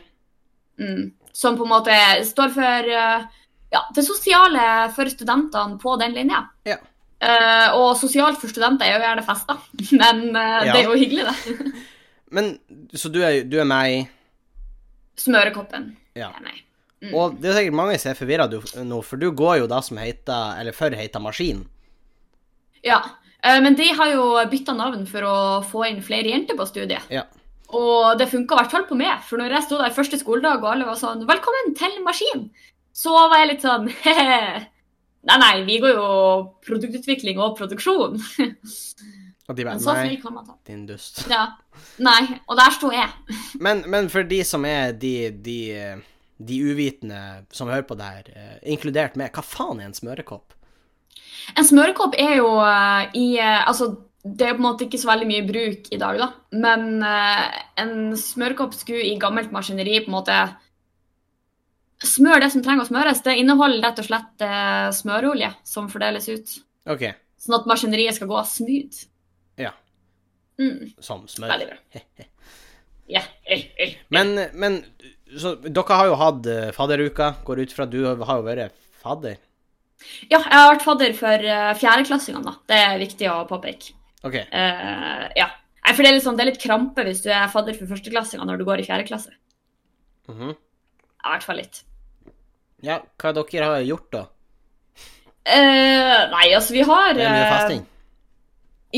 [SPEAKER 1] Mm. Som på en måte står for eh, ja, det sosiale for studentene på den linja.
[SPEAKER 2] Ja.
[SPEAKER 1] Eh, og sosialt for studenter er jo gjerne fester, men eh, det er jo hyggelig, det.
[SPEAKER 2] Men, så du er, du er med i
[SPEAKER 1] Smørekoppen.
[SPEAKER 2] Ja.
[SPEAKER 1] er meg. Mm.
[SPEAKER 2] Og det er sikkert mange som er forvirra nå, for du går jo da som heter Eller før heter Maskin.
[SPEAKER 1] Ja, eh, men de har jo bytta navn for å få inn flere jenter på studiet.
[SPEAKER 2] Ja.
[SPEAKER 1] Og det funka i hvert fall på meg, for når jeg sto der første skoledag og alle var sånn 'Velkommen til maskin', så var jeg litt sånn «Hehe, Nei, nei, vi går jo produktutvikling og produksjon.
[SPEAKER 2] Og de
[SPEAKER 1] Men
[SPEAKER 2] bare
[SPEAKER 1] så
[SPEAKER 2] Nei,
[SPEAKER 1] fri kan man ta.
[SPEAKER 2] din dust.
[SPEAKER 1] Ja. Nei. Og der sto jeg.
[SPEAKER 2] Men, men for de som er de, de, de uvitende som hører på det her, eh, inkludert meg, hva faen er en smørekopp?
[SPEAKER 1] En smørekopp er jo eh, i eh, Altså, det er på en måte ikke så veldig mye bruk i dag, da. Men eh, en smørekopp skulle i gammelt maskineri på en måte smøre det som trenger å smøres. Det inneholder rett og slett eh, smørolje som fordeles ut.
[SPEAKER 2] OK,
[SPEAKER 1] Sånn at maskineriet skal gå smooth.
[SPEAKER 2] Ja.
[SPEAKER 1] Mm,
[SPEAKER 2] som smør.
[SPEAKER 1] veldig bra. Ja. øy, øy.
[SPEAKER 2] Men, men så, dere har jo hatt eh, fadderuka, går ut fra du har jo vært fadder.
[SPEAKER 1] ja, jeg har vært fadder for eh, fjerdeklassingene, da. Det er viktig å påpeke.
[SPEAKER 2] OK.
[SPEAKER 1] Eh, ja. Nei, for det er, litt sånn, det er litt krampe hvis du er fadder for førsteklassinger når du går i fjerde klasse.
[SPEAKER 2] mhm.
[SPEAKER 1] Ja, I hvert fall litt.
[SPEAKER 2] Ja, hva dere har gjort da?
[SPEAKER 1] Eh, nei, altså vi har
[SPEAKER 2] Det er mye
[SPEAKER 1] eh,
[SPEAKER 2] festing.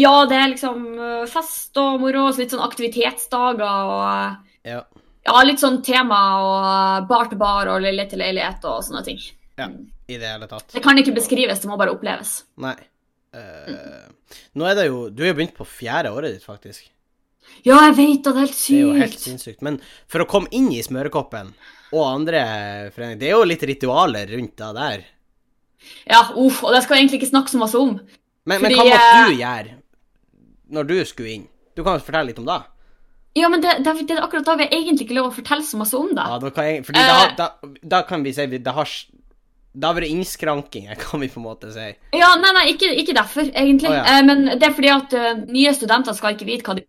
[SPEAKER 1] Ja, det er liksom eh, fest og moro. Så litt sånn aktivitetsdager og eh,
[SPEAKER 2] Ja.
[SPEAKER 1] ja, litt sånn tema og eh, bar til bar og leilighet til leilighet og sånne ting.
[SPEAKER 2] I det hele tatt.
[SPEAKER 1] Det kan ikke beskrives, det må bare oppleves.
[SPEAKER 2] Nei. Eh, Nå er det jo Du er jo begynt på fjerde året ditt, faktisk.
[SPEAKER 1] Ja, jeg vet og det er helt
[SPEAKER 2] Det er jo helt
[SPEAKER 1] sykt.
[SPEAKER 2] sinnssykt. Men for å komme inn i smørekoppen og andre foreninger, det er jo litt ritualer rundt det der.
[SPEAKER 1] Ja, uff, og det skal jeg egentlig ikke snakke så masse om.
[SPEAKER 2] Men, men
[SPEAKER 1] Fordi,
[SPEAKER 2] hva måtte du gjøre når du skulle inn? Du kan jo fortelle litt om det.
[SPEAKER 1] Ja, men det, det, er- det er akkurat da vi egentlig ikke lov å fortelle så masse om det.
[SPEAKER 2] Ja, da kan jeg, fordi da,
[SPEAKER 1] Eh.
[SPEAKER 2] da, da kan vi si vi- Det har s- Da har vært innskrankinger, kan vi på en måte si.
[SPEAKER 1] Ja, nei, nei, ikke, ikke derfor, egentlig.
[SPEAKER 2] Å, ja.
[SPEAKER 1] Eh, men det er fordi at eh, nye studenter skal ikke vite hva de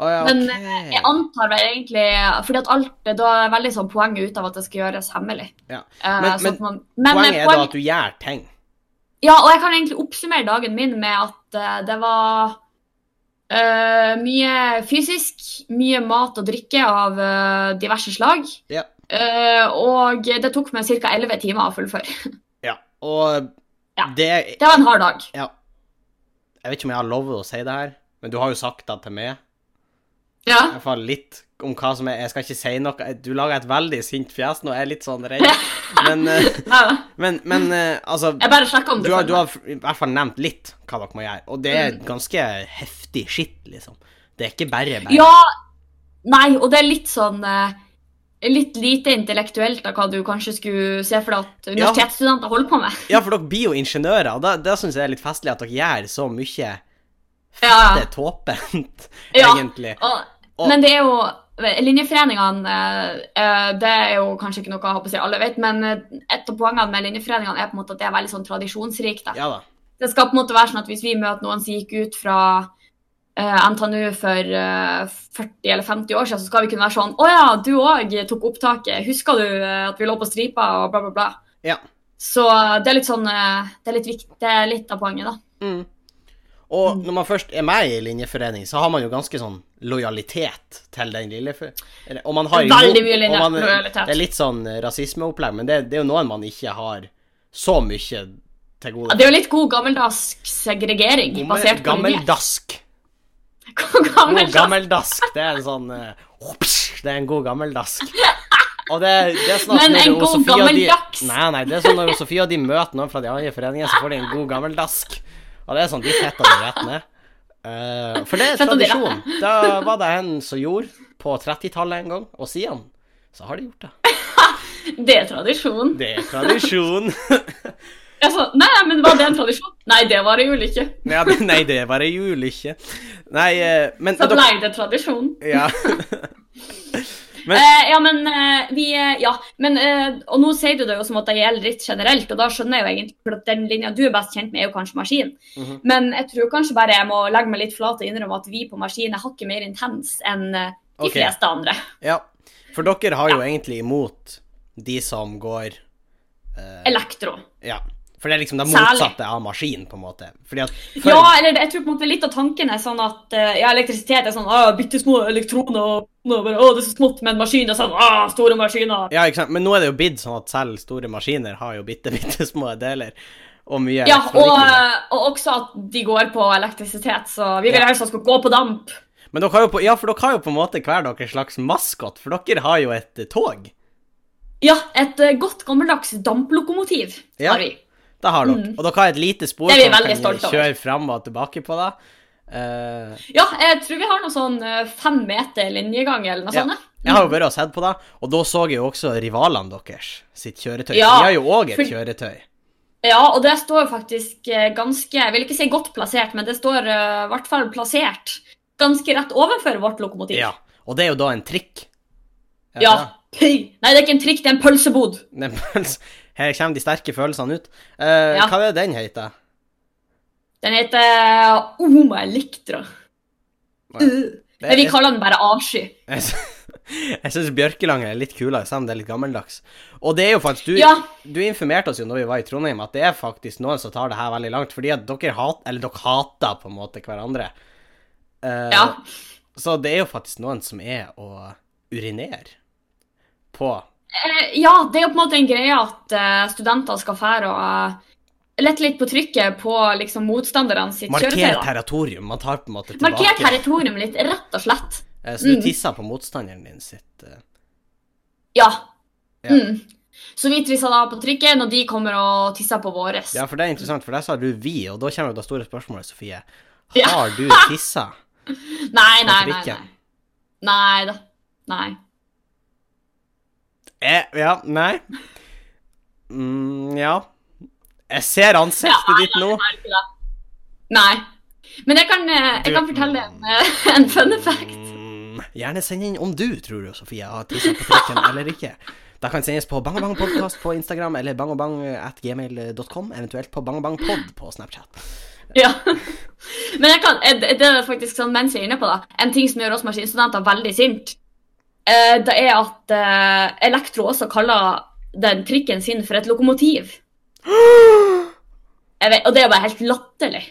[SPEAKER 2] Å ja,
[SPEAKER 1] Men,
[SPEAKER 2] ok.
[SPEAKER 1] Jeg antar vel egentlig Fordi at alt det da er veldig sånn poenget ut av at det skal gjøres hemmelig.
[SPEAKER 2] Ja.
[SPEAKER 1] Eh,
[SPEAKER 2] Men-
[SPEAKER 1] sånn
[SPEAKER 2] men
[SPEAKER 1] at man, men
[SPEAKER 2] Poenget er da
[SPEAKER 1] poeng-
[SPEAKER 2] at du gjør ting.
[SPEAKER 1] Ja, og jeg kan egentlig oppsummere dagen min med at eh, det var eh, mye fysisk, mye mat og drikke av eh, diverse slag.
[SPEAKER 2] Ja.
[SPEAKER 1] Eh, og det tok meg ca. 11 timer å fullføre.
[SPEAKER 2] Ja. Og
[SPEAKER 1] Ja.
[SPEAKER 2] det
[SPEAKER 1] Det var en hard dag.
[SPEAKER 2] Ja. Jeg vet ikke om jeg har lov å si det her, men du har jo sagt det til meg.
[SPEAKER 1] Ja.
[SPEAKER 2] I hvert fall litt om hva som er Jeg skal ikke si noe. Du lager et veldig sint fjes nå. Jeg er litt sånn redd. Men, eh,
[SPEAKER 1] Nei, nei.
[SPEAKER 2] men, men eh, altså
[SPEAKER 1] Jeg bare sjekka om
[SPEAKER 2] du
[SPEAKER 1] du
[SPEAKER 2] har, du
[SPEAKER 1] følger meg.
[SPEAKER 2] har i hvert fall nevnt litt hva dere må gjøre, og det er
[SPEAKER 1] Mm.
[SPEAKER 2] ganske heftig skitt, liksom. Det er ikke bare bare.
[SPEAKER 1] Ja. Nei, og det er litt sånn eh, Litt lite intellektuelt av hva du kanskje skulle se for deg at
[SPEAKER 2] Ja.
[SPEAKER 1] universitetsstudenter holder på med.
[SPEAKER 2] Ja, for dere blir jo ingeniører, og da, da syns jeg det er litt festlig at dere gjør så mye
[SPEAKER 1] Ja,
[SPEAKER 2] det er tåpent,
[SPEAKER 1] Ja.
[SPEAKER 2] egentlig.
[SPEAKER 1] Og,
[SPEAKER 2] Og-
[SPEAKER 1] men det er jo Linjeforeningene eh, eh, Det er jo kanskje ikke noe jeg håper å si alle vet, men eh, et av poengene med linjeforeningene er på en måte at det er veldig sånn tradisjonsrikt. da.
[SPEAKER 2] Ja da.
[SPEAKER 1] Det skal på en måte være sånn at hvis vi møter noen som gikk ut fra eh, NTNU for eh, 40 eller 50 år siden, så skal vi kunne være sånn Å ja, du òg tok opptaket. Husker du eh, at vi lå på stripa og bla, bla, bla.
[SPEAKER 2] Ja.
[SPEAKER 1] Så det er litt sånn eh, Det er litt, viktig, det er litt av poenget, da.
[SPEAKER 2] Mm.
[SPEAKER 1] Mm.
[SPEAKER 2] Og når man først er med i en linjeforening, så har man jo ganske sånn lojalitet til den lille for- eller- Og man har jo-
[SPEAKER 1] Veldig mye linje-
[SPEAKER 2] og man-
[SPEAKER 1] lojalitet.
[SPEAKER 2] Det er litt sånn rasismeopplegg, men det, det er jo noen man ikke har så mye til
[SPEAKER 1] Ja,
[SPEAKER 2] gode.
[SPEAKER 1] det er jo litt god gammeldask segregering
[SPEAKER 2] Gammel-
[SPEAKER 1] basert på linje.
[SPEAKER 2] Gammeldask. God
[SPEAKER 1] Gammeldask.
[SPEAKER 2] gammeldask. Det er en sånn eh, hopsj, Det er en god gammeldask. Og det, det er sånn at
[SPEAKER 1] Men
[SPEAKER 2] når
[SPEAKER 1] en
[SPEAKER 2] jo
[SPEAKER 1] god
[SPEAKER 2] Sofie og
[SPEAKER 1] gammeldags.
[SPEAKER 2] De, nei, nei, det er sånn når jo Sofie og de møter noen fra de andre foreningene, så får de en god gammeldask. Og det er sånn de fetter de rett ned. Eh, for det er
[SPEAKER 1] Fetter de rett
[SPEAKER 2] tradisjon. Da var det en som gjorde på 30-tallet en gang, og siden så har de gjort det.
[SPEAKER 1] Det er tradisjon.
[SPEAKER 2] Det er tradisjon.
[SPEAKER 1] Altså, nei, nei, men var det en tradisjon? Nei, det var det jo ikke.
[SPEAKER 2] Ja, men nei, det var ei ulykke. Nei, eh, men
[SPEAKER 1] Så ble det tradisjon.
[SPEAKER 2] Ja. Men-
[SPEAKER 1] Eh, ja, men eh, vi eh, Ja, men eh, Og nå sier du det jo som at det gjelder litt generelt, og da skjønner jeg jo egentlig for at den linja du er best kjent med, er jo kanskje maskin.
[SPEAKER 2] Mhm.
[SPEAKER 1] Men jeg tror kanskje bare jeg må legge meg litt flat og innrømme at vi på maskin er hakket mer intens enn eh, de
[SPEAKER 2] Ok.
[SPEAKER 1] fleste andre.
[SPEAKER 2] Ja, for dere har jo egentlig imot de som går eh,
[SPEAKER 1] Elektro.
[SPEAKER 2] Ja. For det er liksom det
[SPEAKER 1] Særlig.
[SPEAKER 2] motsatte av maskin, på en måte. Fordi at før,
[SPEAKER 1] Ja, eller det- jeg tror på en måte litt av tanken er sånn at eh, ja, elektrisitet er sånn ah, bitte små elektroner og og bare, å, det er så smått, men maskiner er sånn ah, store maskiner.
[SPEAKER 2] ja, ikke sant? Men nå er det jo blitt sånn at selv store maskiner har jo bitte, bitte små deler. Og mye
[SPEAKER 1] Ja,
[SPEAKER 2] elektronikk
[SPEAKER 1] og,
[SPEAKER 2] i det.
[SPEAKER 1] eh, og også at de går på elektrisitet, så vi vil
[SPEAKER 2] Ja.
[SPEAKER 1] helst at de skal gå på damp.
[SPEAKER 2] Men dere har jo på, ja, for dere har jo på en måte hver deres slags maskot, for dere har jo et eh, tog.
[SPEAKER 1] Ja, et eh, godt gammeldags damplokomotiv
[SPEAKER 2] Ja.
[SPEAKER 1] har vi.
[SPEAKER 2] Det har dere.
[SPEAKER 1] Mm.
[SPEAKER 2] Og dere har et lite spor
[SPEAKER 1] Det er vi
[SPEAKER 2] som dere
[SPEAKER 1] veldig stolte
[SPEAKER 2] kan
[SPEAKER 1] over.
[SPEAKER 2] kjøre fram og tilbake på. da. Eh,
[SPEAKER 1] Ja, jeg tror vi har noe sånn eh, fem meter linjegang eller noe
[SPEAKER 2] Ja.
[SPEAKER 1] sånt. ja.
[SPEAKER 2] jeg har jo vært og sett på det, og da så jeg jo også rivalene deres sitt kjøretøy.
[SPEAKER 1] Ja,
[SPEAKER 2] De har jo òg et
[SPEAKER 1] for-
[SPEAKER 2] kjøretøy.
[SPEAKER 1] Ja, og det står jo faktisk eh, ganske Jeg vil ikke si godt plassert, men det står eh, i hvert fall plassert ganske rett overfor vårt lokomotiv.
[SPEAKER 2] Ja, og det er jo da en trikk. Er det
[SPEAKER 1] Ja.
[SPEAKER 2] det?
[SPEAKER 1] Pøy. Nei, det er ikke en trikk, det er en pølsebod.
[SPEAKER 2] Det er en pøls- Her kommer de sterke følelsene ut. Eh,
[SPEAKER 1] Ja.
[SPEAKER 2] Hva er det den heter?
[SPEAKER 1] Den heter Oma Electra.
[SPEAKER 2] Nei.
[SPEAKER 1] Uh. Men vi kaller den bare Avsky.
[SPEAKER 2] Jeg sy- Jeg syns Bjørkelangen er litt kulere, selv om det er litt gammeldags. Og det er jo faktisk Du,
[SPEAKER 1] Ja.
[SPEAKER 2] du informerte oss jo når vi var i Trondheim, at det er faktisk noen som tar det her veldig langt, fordi at dere hat, eller dere hater på en måte hverandre. Eh,
[SPEAKER 1] Ja.
[SPEAKER 2] Så det er jo faktisk noen som er å urinere på
[SPEAKER 1] Eh, ja, det er jo på en måte en greie at eh, studenter skal fære og eh, lette litt på trykket på liksom, motstanderne sitt kjøretøy.
[SPEAKER 2] Markere
[SPEAKER 1] da.
[SPEAKER 2] territorium. Man tar på en måte tilbake
[SPEAKER 1] Marker territorium litt, rett og slett.
[SPEAKER 2] Eh, Så du
[SPEAKER 1] Mm.
[SPEAKER 2] tisser på motstanderen din sitt eh,
[SPEAKER 1] Ja.
[SPEAKER 2] Ja.
[SPEAKER 1] Mm. Så vi tisser da på trykket når de kommer og tisser på våres.
[SPEAKER 2] Ja, for det er interessant, for der sa du vi, og da kommer jo det store spørsmålet, Sofie.
[SPEAKER 1] Ja.
[SPEAKER 2] Har du tissa?
[SPEAKER 1] Nei, nei, nei.
[SPEAKER 2] trikken.
[SPEAKER 1] Nei, nei da. Nei.
[SPEAKER 2] Eh, ja, nei. Mm, ja. Jeg ser ansiktet
[SPEAKER 1] Ja,
[SPEAKER 2] ditt nå.
[SPEAKER 1] Nei, ikke det. Nei. Men jeg kan, eh, jeg
[SPEAKER 2] Du-
[SPEAKER 1] kan fortelle en, eh, en fun fact.
[SPEAKER 2] Mm, gjerne send inn om du tror du, Sofie, har tissa på trikken eller ikke. Da kan sendes på bangabangpodkast på Instagram eller eh, bangabang.gmail.com, eventuelt på bangabangpod på Snapchat.
[SPEAKER 1] Ja. Men jeg kan, eh, det det er faktisk sånn mens jeg er inne på det, en ting som gjør oss maskinstudenter veldig sint, eh, det er at eh, Elektro også kaller den trikken sin for et lokomotiv. Jeg vet, og det er bare helt latterlig.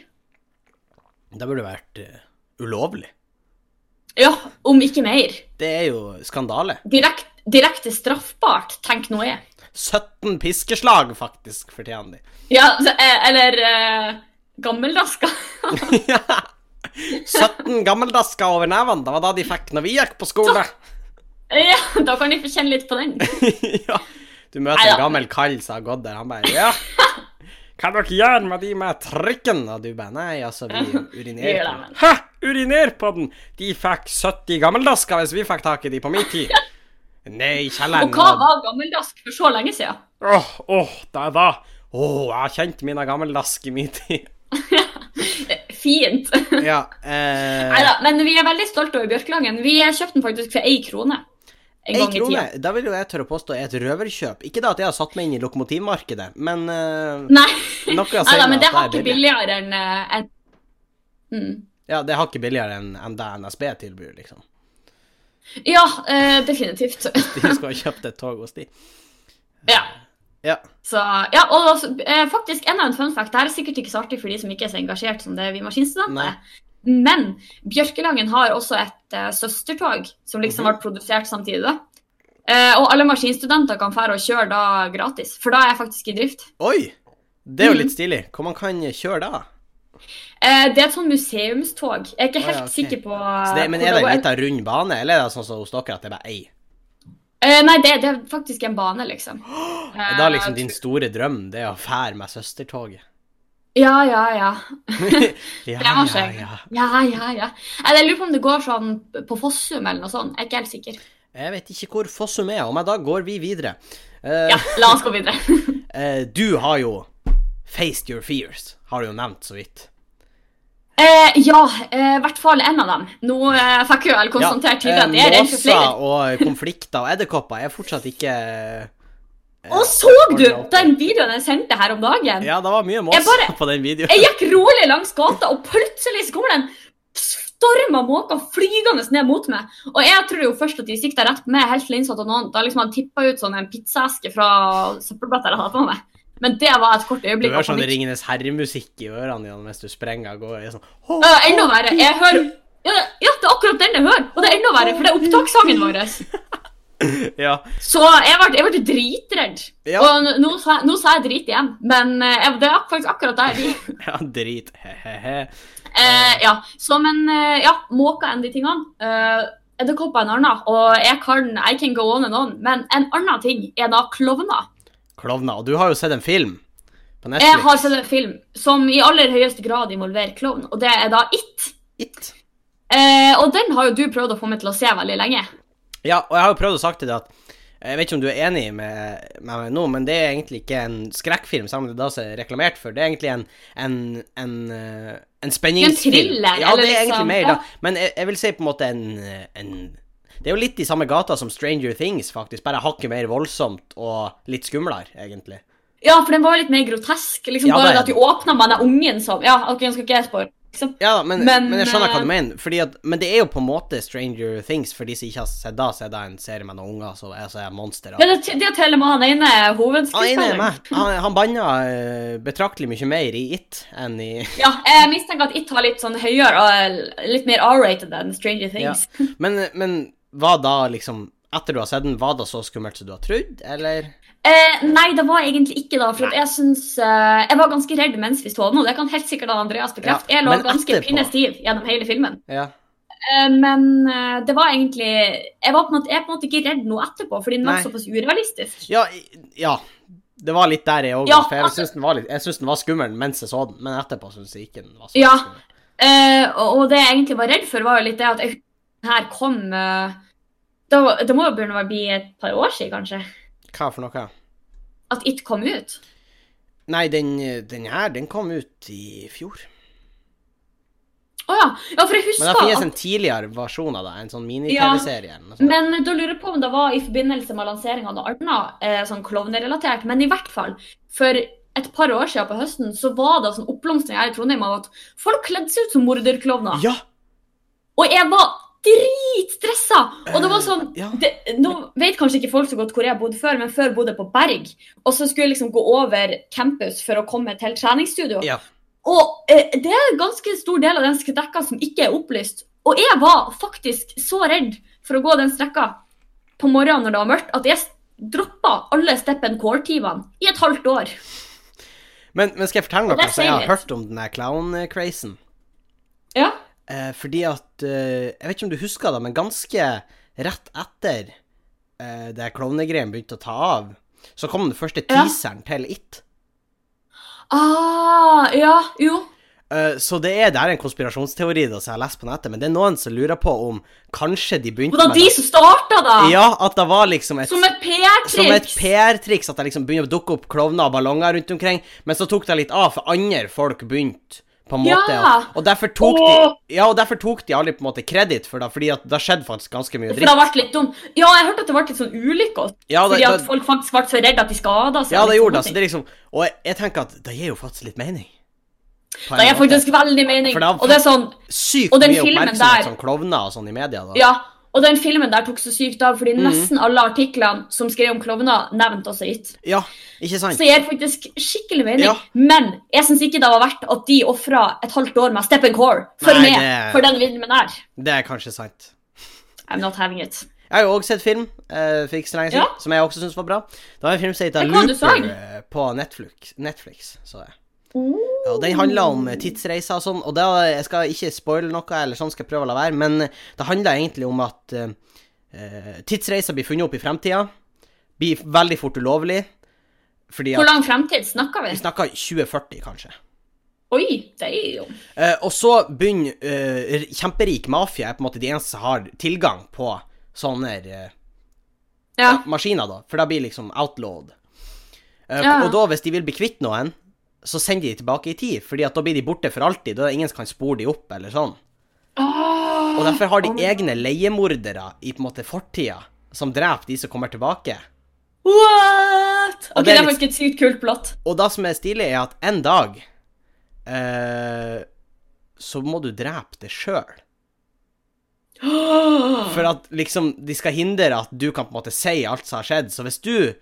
[SPEAKER 2] Det burde vært eh, ulovlig.
[SPEAKER 1] Ja, om ikke mer.
[SPEAKER 2] Det er jo skandale.
[SPEAKER 1] Direkt, direkte straffbart, tenk nå jeg.
[SPEAKER 2] 17 piskeslag, faktisk, fortjener de.
[SPEAKER 1] Ja, så, eh, eller eh, gammeldaska.
[SPEAKER 2] Ja. 17 gammeldasker over nevene. Det var da de fikk når vi gikk på skole.
[SPEAKER 1] ja, da kan de få kjenne litt på den.
[SPEAKER 2] ja. Du møter
[SPEAKER 1] Neida.
[SPEAKER 2] en gammel kall som har gått der. Han bare Ja, hva dere gjør med de med trikken? Og du bare Nei, altså, vi
[SPEAKER 1] Vi
[SPEAKER 2] urinerer
[SPEAKER 1] gjør
[SPEAKER 2] på
[SPEAKER 1] det,
[SPEAKER 2] den. Hæ? Uriner på den? De fikk 70 gammeldasker hvis vi fikk tak i de på min tid. Nei, kjelleren
[SPEAKER 1] Og hva var gammeldask for så lenge siden?
[SPEAKER 2] Åh, åh, det er da. Åh, jeg har kjent mine gammeldask i min tid.
[SPEAKER 1] Eh, Fint.
[SPEAKER 2] Ja. Eh,
[SPEAKER 1] Neida, men vi er veldig stolte over Bjørkelangen. Vi kjøpte den faktisk for ei krone. En
[SPEAKER 2] Ei
[SPEAKER 1] gang i
[SPEAKER 2] krone,
[SPEAKER 1] tida.
[SPEAKER 2] da vil jo jeg tørre å påstå er et røverkjøp. Ikke da at jeg har satt meg inn i lokomotivmarkedet, men eh,
[SPEAKER 1] Nei.
[SPEAKER 2] noe å si meg
[SPEAKER 1] Neida, men
[SPEAKER 2] at
[SPEAKER 1] det var
[SPEAKER 2] er
[SPEAKER 1] ikke
[SPEAKER 2] billig.
[SPEAKER 1] billigere enn eh, en... mm.
[SPEAKER 2] Ja, det er hakket billigere enn enn det NSB tilbyr, liksom.
[SPEAKER 1] Ja, eh, definitivt.
[SPEAKER 2] De skal ha kjøpt et tog hos de.
[SPEAKER 1] ja.
[SPEAKER 2] Ja.
[SPEAKER 1] Så, ja, og det var også, eh, faktisk enda en fun fact. Det her er sikkert ikke så artig for de som ikke er så engasjert som det er vi
[SPEAKER 2] Nei.
[SPEAKER 1] maskinstudenter. Men Bjørkelangen har også et eh, søstertog som liksom
[SPEAKER 2] Mhm.
[SPEAKER 1] ble produsert samtidig. da. Eh, og alle maskinstudenter kan fære og kjøre da gratis, for da er jeg faktisk i drift.
[SPEAKER 2] Oi! Det er jo
[SPEAKER 1] Mhm.
[SPEAKER 2] litt stilig. Hvor man kan kjøre da?
[SPEAKER 1] Eh, det er et sånn museumstog. Jeg er ikke
[SPEAKER 2] Å,
[SPEAKER 1] helt
[SPEAKER 2] ja, ok.
[SPEAKER 1] sikker på
[SPEAKER 2] Så det, men
[SPEAKER 1] hvor
[SPEAKER 2] er det en
[SPEAKER 1] går.
[SPEAKER 2] liten rund bane, eller er det sånn som hos dere at det er bare ei?
[SPEAKER 1] Eh, nei, det, det er faktisk en bane, liksom. Eh,
[SPEAKER 2] Er da liksom din store drøm det er å fære med søstertoget?
[SPEAKER 1] Ja, ja, ja.
[SPEAKER 2] Ja,
[SPEAKER 1] Det
[SPEAKER 2] ja,
[SPEAKER 1] var skjegg.
[SPEAKER 2] ja.
[SPEAKER 1] Ja, ja, ja. Eller Jeg lurer på om det går sånn på Fossum eller noe sånt. Jeg er ikke helt sikker.
[SPEAKER 2] Jeg vet ikke hvor Fossum er, og men da går vi videre. Eh,
[SPEAKER 1] Ja, la oss gå videre.
[SPEAKER 2] eh, du har jo faced your fears, har du jo nevnt så vidt.
[SPEAKER 1] Eh, ja, eh, i hvert fall en av dem. Nå eh, fikk jo jeg konstatert tydelig at jeg er redd for
[SPEAKER 2] eh, Måser
[SPEAKER 1] flere.
[SPEAKER 2] og eh, konflikter og edderkopper er fortsatt ikke eh,
[SPEAKER 1] Og så du den videoen jeg sendte her om dagen?
[SPEAKER 2] Ja, det var mye måser
[SPEAKER 1] Jeg bare-
[SPEAKER 2] på den videoen.
[SPEAKER 1] Jeg gikk rolig langs gata, og plutselig så kommer det en storm av måker flygende ned mot meg. Og jeg tror jo først at de sikta rett på meg, helt til jeg innså at noen da liksom hadde tippa ut sånn en pizzaeske fra søppelbøtta jeg hadde på meg. Men det var et kort
[SPEAKER 2] Du
[SPEAKER 1] øyeblikk.
[SPEAKER 2] hører
[SPEAKER 1] av
[SPEAKER 2] sånn
[SPEAKER 1] panikk.
[SPEAKER 2] Ringenes herre-musikk i ørene Jan, mens du sprenger av gårde. Jeg er Sånn, «Hå,
[SPEAKER 1] Øh, enda verre. Jeg hører ja, det- ja, det er akkurat den jeg hører. Og det er enda verre, for det er opptakssangen vår.
[SPEAKER 2] ja.
[SPEAKER 1] Så jeg ble, jeg ble dritredd.
[SPEAKER 2] Ja.
[SPEAKER 1] Og n- nå sa, jeg- nå sa jeg drit igjen, men eh, jeg- det er faktisk akkurat der vi
[SPEAKER 2] ja, drit. He-he-he.
[SPEAKER 1] Eh, ja. Så, men eh, ja, måker er en av de tingene. Eh, Edderkopper er en annen. Og jeg kan I can go on and on. Men en annen ting er da klovner.
[SPEAKER 2] Klovner. Og du har jo sett en film på Netflix.
[SPEAKER 1] Jeg har sett en film som i aller høyeste grad involverer klovn, og det er da It.
[SPEAKER 2] It.
[SPEAKER 1] Eh, og den har jo du prøvd å få meg til å se veldig lenge.
[SPEAKER 2] Ja, og jeg har jo prøvd å sagt til deg at eh, jeg vet ikke om du er enig med med meg nå, men det er egentlig ikke en skrekkfilm, sammen med det som er reklamert for. Det er egentlig en, en, en, eh, en spenningsfilm.
[SPEAKER 1] En thriller,
[SPEAKER 2] Ja,
[SPEAKER 1] eller
[SPEAKER 2] det er egentlig
[SPEAKER 1] liksom,
[SPEAKER 2] mer,
[SPEAKER 1] ja.
[SPEAKER 2] da. Men jeg, jeg vil si på en måte en, eh, en Det er jo litt i samme gata som Stranger Things, faktisk. Bare hakket mer voldsomt og litt skumlere, egentlig.
[SPEAKER 1] Ja, for den var jo litt mer grotesk. liksom
[SPEAKER 2] Ja, det
[SPEAKER 1] Bare
[SPEAKER 2] er
[SPEAKER 1] det at du åpna med den ungen som Ja, ok, nå skal ikke jeg spore. Liksom.
[SPEAKER 2] Ja, da, men, men,
[SPEAKER 1] Men,
[SPEAKER 2] jeg skjønner hva
[SPEAKER 1] eh,
[SPEAKER 2] du mener. Fordi at, men det er jo på en måte Stranger Things, for de som ikke har sett da, så er det en serie med noen unger som er, så er monstre.
[SPEAKER 1] Ja, det, det teller med han ene
[SPEAKER 2] Han er enig
[SPEAKER 1] hovedskuespilleren.
[SPEAKER 2] med meg. Han, han banna eh, betraktelig mye mer i It enn i
[SPEAKER 1] Ja, jeg mistenker at It har litt sånn høyere og litt mer R-rated enn Stranger
[SPEAKER 2] ja.
[SPEAKER 1] Things.
[SPEAKER 2] men, men hva da, liksom Etter du har sett den, var det så skummelt som du har trodd, eller?
[SPEAKER 1] Eh, nei, det var egentlig ikke da, for at jeg syns eh, Jeg var ganske redd mens vi så den, og det kan helt sikkert han Andreas bekrefte.
[SPEAKER 2] Ja,
[SPEAKER 1] jeg lå
[SPEAKER 2] men
[SPEAKER 1] ganske
[SPEAKER 2] etterpå.
[SPEAKER 1] pinnestiv gjennom hele filmen.
[SPEAKER 2] Ja.
[SPEAKER 1] Eh, men eh, det var egentlig Jeg var på en måte, jeg er på en måte ikke redd noe etterpå, fordi den
[SPEAKER 2] Nei.
[SPEAKER 1] var såpass urealistisk.
[SPEAKER 2] Ja. i- ja. Det var litt der jeg òg
[SPEAKER 1] Ja,
[SPEAKER 2] var, for jeg
[SPEAKER 1] altså-
[SPEAKER 2] syns den var litt Jeg synes den var skummel mens jeg så den, men etterpå syns jeg ikke den var så
[SPEAKER 1] Ja.
[SPEAKER 2] skummel.
[SPEAKER 1] Eh, og, og det jeg egentlig var redd for, var jo litt det at jeg, her kom eh, da, Det må jo begynne å bli et par år siden, kanskje,
[SPEAKER 2] Hva for noe?
[SPEAKER 1] at It kom ut.
[SPEAKER 2] Nei, den, den her, den kom ut i fjor.
[SPEAKER 1] Å ja. ja, for jeg
[SPEAKER 2] Men det
[SPEAKER 1] husker
[SPEAKER 2] finnes
[SPEAKER 1] at
[SPEAKER 2] en tidligere versjon av det, en sånn
[SPEAKER 1] Ja.
[SPEAKER 2] mini-TV-serie eller noe sånt.
[SPEAKER 1] Men da lurer jeg på om det var i forbindelse med lanseringa av noe annet eh, sånn klovnerelatert. Men i hvert fall, for et par år siden på høsten så var det sånn oppblomstring her i Trondheim av at folk kledde seg ut som morderklovner.
[SPEAKER 2] Ja!
[SPEAKER 1] Og jeg var dritstressa! Og det var sånn
[SPEAKER 2] eh, ja.
[SPEAKER 1] det, Nå vet kanskje ikke folk så godt hvor jeg bodde før, men før bodde jeg på Berg. Og så skulle jeg liksom gå over campus for å komme til treningsstudio.
[SPEAKER 2] Ja.
[SPEAKER 1] Og eh, det er en ganske stor del av den strekka som ikke er opplyst. Og jeg var faktisk så redd for å gå den strekka på morgenen når det var mørkt, at jeg droppa alle Step and Core-timene i et halvt år.
[SPEAKER 2] Men, men skal jeg fortelle
[SPEAKER 1] Og
[SPEAKER 2] noe
[SPEAKER 1] det
[SPEAKER 2] som jeg har
[SPEAKER 1] sier litt.
[SPEAKER 2] hørt om den der clown-crazen?
[SPEAKER 1] Ja.
[SPEAKER 2] Eh, fordi at eh, Jeg vet ikke om du husker det, men ganske rett etter eh, det her klovnegreiene begynte å ta av, så kom den første
[SPEAKER 1] Ja.
[SPEAKER 2] teaseren til It.
[SPEAKER 1] Ah, ja, jo.
[SPEAKER 2] Eh, så det er, det er en konspirasjonsteori da, som jeg har lest på nettet, men det er noen som lurer på om kanskje de begynte
[SPEAKER 1] Og da de
[SPEAKER 2] det.
[SPEAKER 1] som starta, da!
[SPEAKER 2] Ja, at det var liksom et
[SPEAKER 1] Som et
[SPEAKER 2] som et
[SPEAKER 1] PR-triks!
[SPEAKER 2] PR-triks, at det liksom begynner å dukke opp klovner og ballonger rundt omkring. Men så tok det litt av, for andre folk begynte på en måte
[SPEAKER 1] Ja.
[SPEAKER 2] å- Og derfor tok
[SPEAKER 1] Åh.
[SPEAKER 2] de Ja, og derfor tok de aldri på en måte kreditt for det, fordi at det skjedde faktisk ganske mye
[SPEAKER 1] For det
[SPEAKER 2] dritt.
[SPEAKER 1] har vært litt dumt. Ja, jeg hørte at det ble litt sånn ulykker. også.
[SPEAKER 2] Ja, det-
[SPEAKER 1] fordi at
[SPEAKER 2] det-
[SPEAKER 1] folk liksom faktisk ble så redde at de skada seg.
[SPEAKER 2] Ja, det liksom-
[SPEAKER 1] og litt
[SPEAKER 2] gjorde det,
[SPEAKER 1] sånne
[SPEAKER 2] så det er liksom Og jeg, jeg tenker at det gir jo faktisk litt mening.
[SPEAKER 1] ting.
[SPEAKER 2] på en
[SPEAKER 1] Det gir
[SPEAKER 2] måte.
[SPEAKER 1] faktisk veldig mening.
[SPEAKER 2] For da-
[SPEAKER 1] Og det er sånn,
[SPEAKER 2] Sykt
[SPEAKER 1] og den
[SPEAKER 2] mye
[SPEAKER 1] filmen
[SPEAKER 2] oppmerksomhet
[SPEAKER 1] der-
[SPEAKER 2] som klovner og sånn i media. da. Mhm.
[SPEAKER 1] ja, og den filmen der tok så sykt av, fordi nesten alle artiklene som skrev om klovner, nevnte også It.
[SPEAKER 2] Ja, ikke sant?
[SPEAKER 1] Så gir faktisk skikkelig mening.
[SPEAKER 2] Ja.
[SPEAKER 1] Men jeg syns ikke det var verdt at de ofra et halvt år med Step and Core for
[SPEAKER 2] Nei,
[SPEAKER 1] meg,
[SPEAKER 2] det-
[SPEAKER 1] for den filmen der.
[SPEAKER 2] Det er kanskje sant.
[SPEAKER 1] I'm not having it.
[SPEAKER 2] Jeg har jo også sett film eh, for ikke så lenge siden,
[SPEAKER 1] Ja.
[SPEAKER 2] som jeg også syns var bra. Det var en film som heter
[SPEAKER 1] Ja, hva du så?
[SPEAKER 2] Looper eh, på Netflix. Netflix så jeg. Ja, og den handler om tidsreiser og sånn, og da, jeg skal ikke spoile noe, eller sånn skal jeg prøve å la være, men det handler egentlig om at eh, eh, tidsreiser blir funnet opp i fremtida, blir veldig fort ulovlig, fordi
[SPEAKER 1] Hvor
[SPEAKER 2] at
[SPEAKER 1] lang fremtid snakker vi?
[SPEAKER 2] vi snakker 2040, kanskje.
[SPEAKER 1] Oi, det er jo
[SPEAKER 2] Eh, og så begynner eh, r- kjemperik mafia er på en måte de eneste som har tilgang på sånne eh,
[SPEAKER 1] Ja.
[SPEAKER 2] maskiner, da. For da blir liksom outlawed. Eh,
[SPEAKER 1] Ja.
[SPEAKER 2] Og da, hvis de vil bli kvitt noen, så sender de de tilbake i tid, fordi at da blir de borte for alltid. Da er det ingen som kan spore de opp, eller sånn. Og derfor har de egne leiemordere i på en måte fortida, som dreper de som kommer tilbake.
[SPEAKER 1] What?
[SPEAKER 2] Og det
[SPEAKER 1] Ok, det
[SPEAKER 2] er
[SPEAKER 1] er
[SPEAKER 2] litt-
[SPEAKER 1] faktisk et sykt kult plott.
[SPEAKER 2] Og det som er stilig, er at en dag eh, så må du drepe deg sjøl. For at liksom, de skal hindre at du kan på en måte si alt som har skjedd. Så hvis du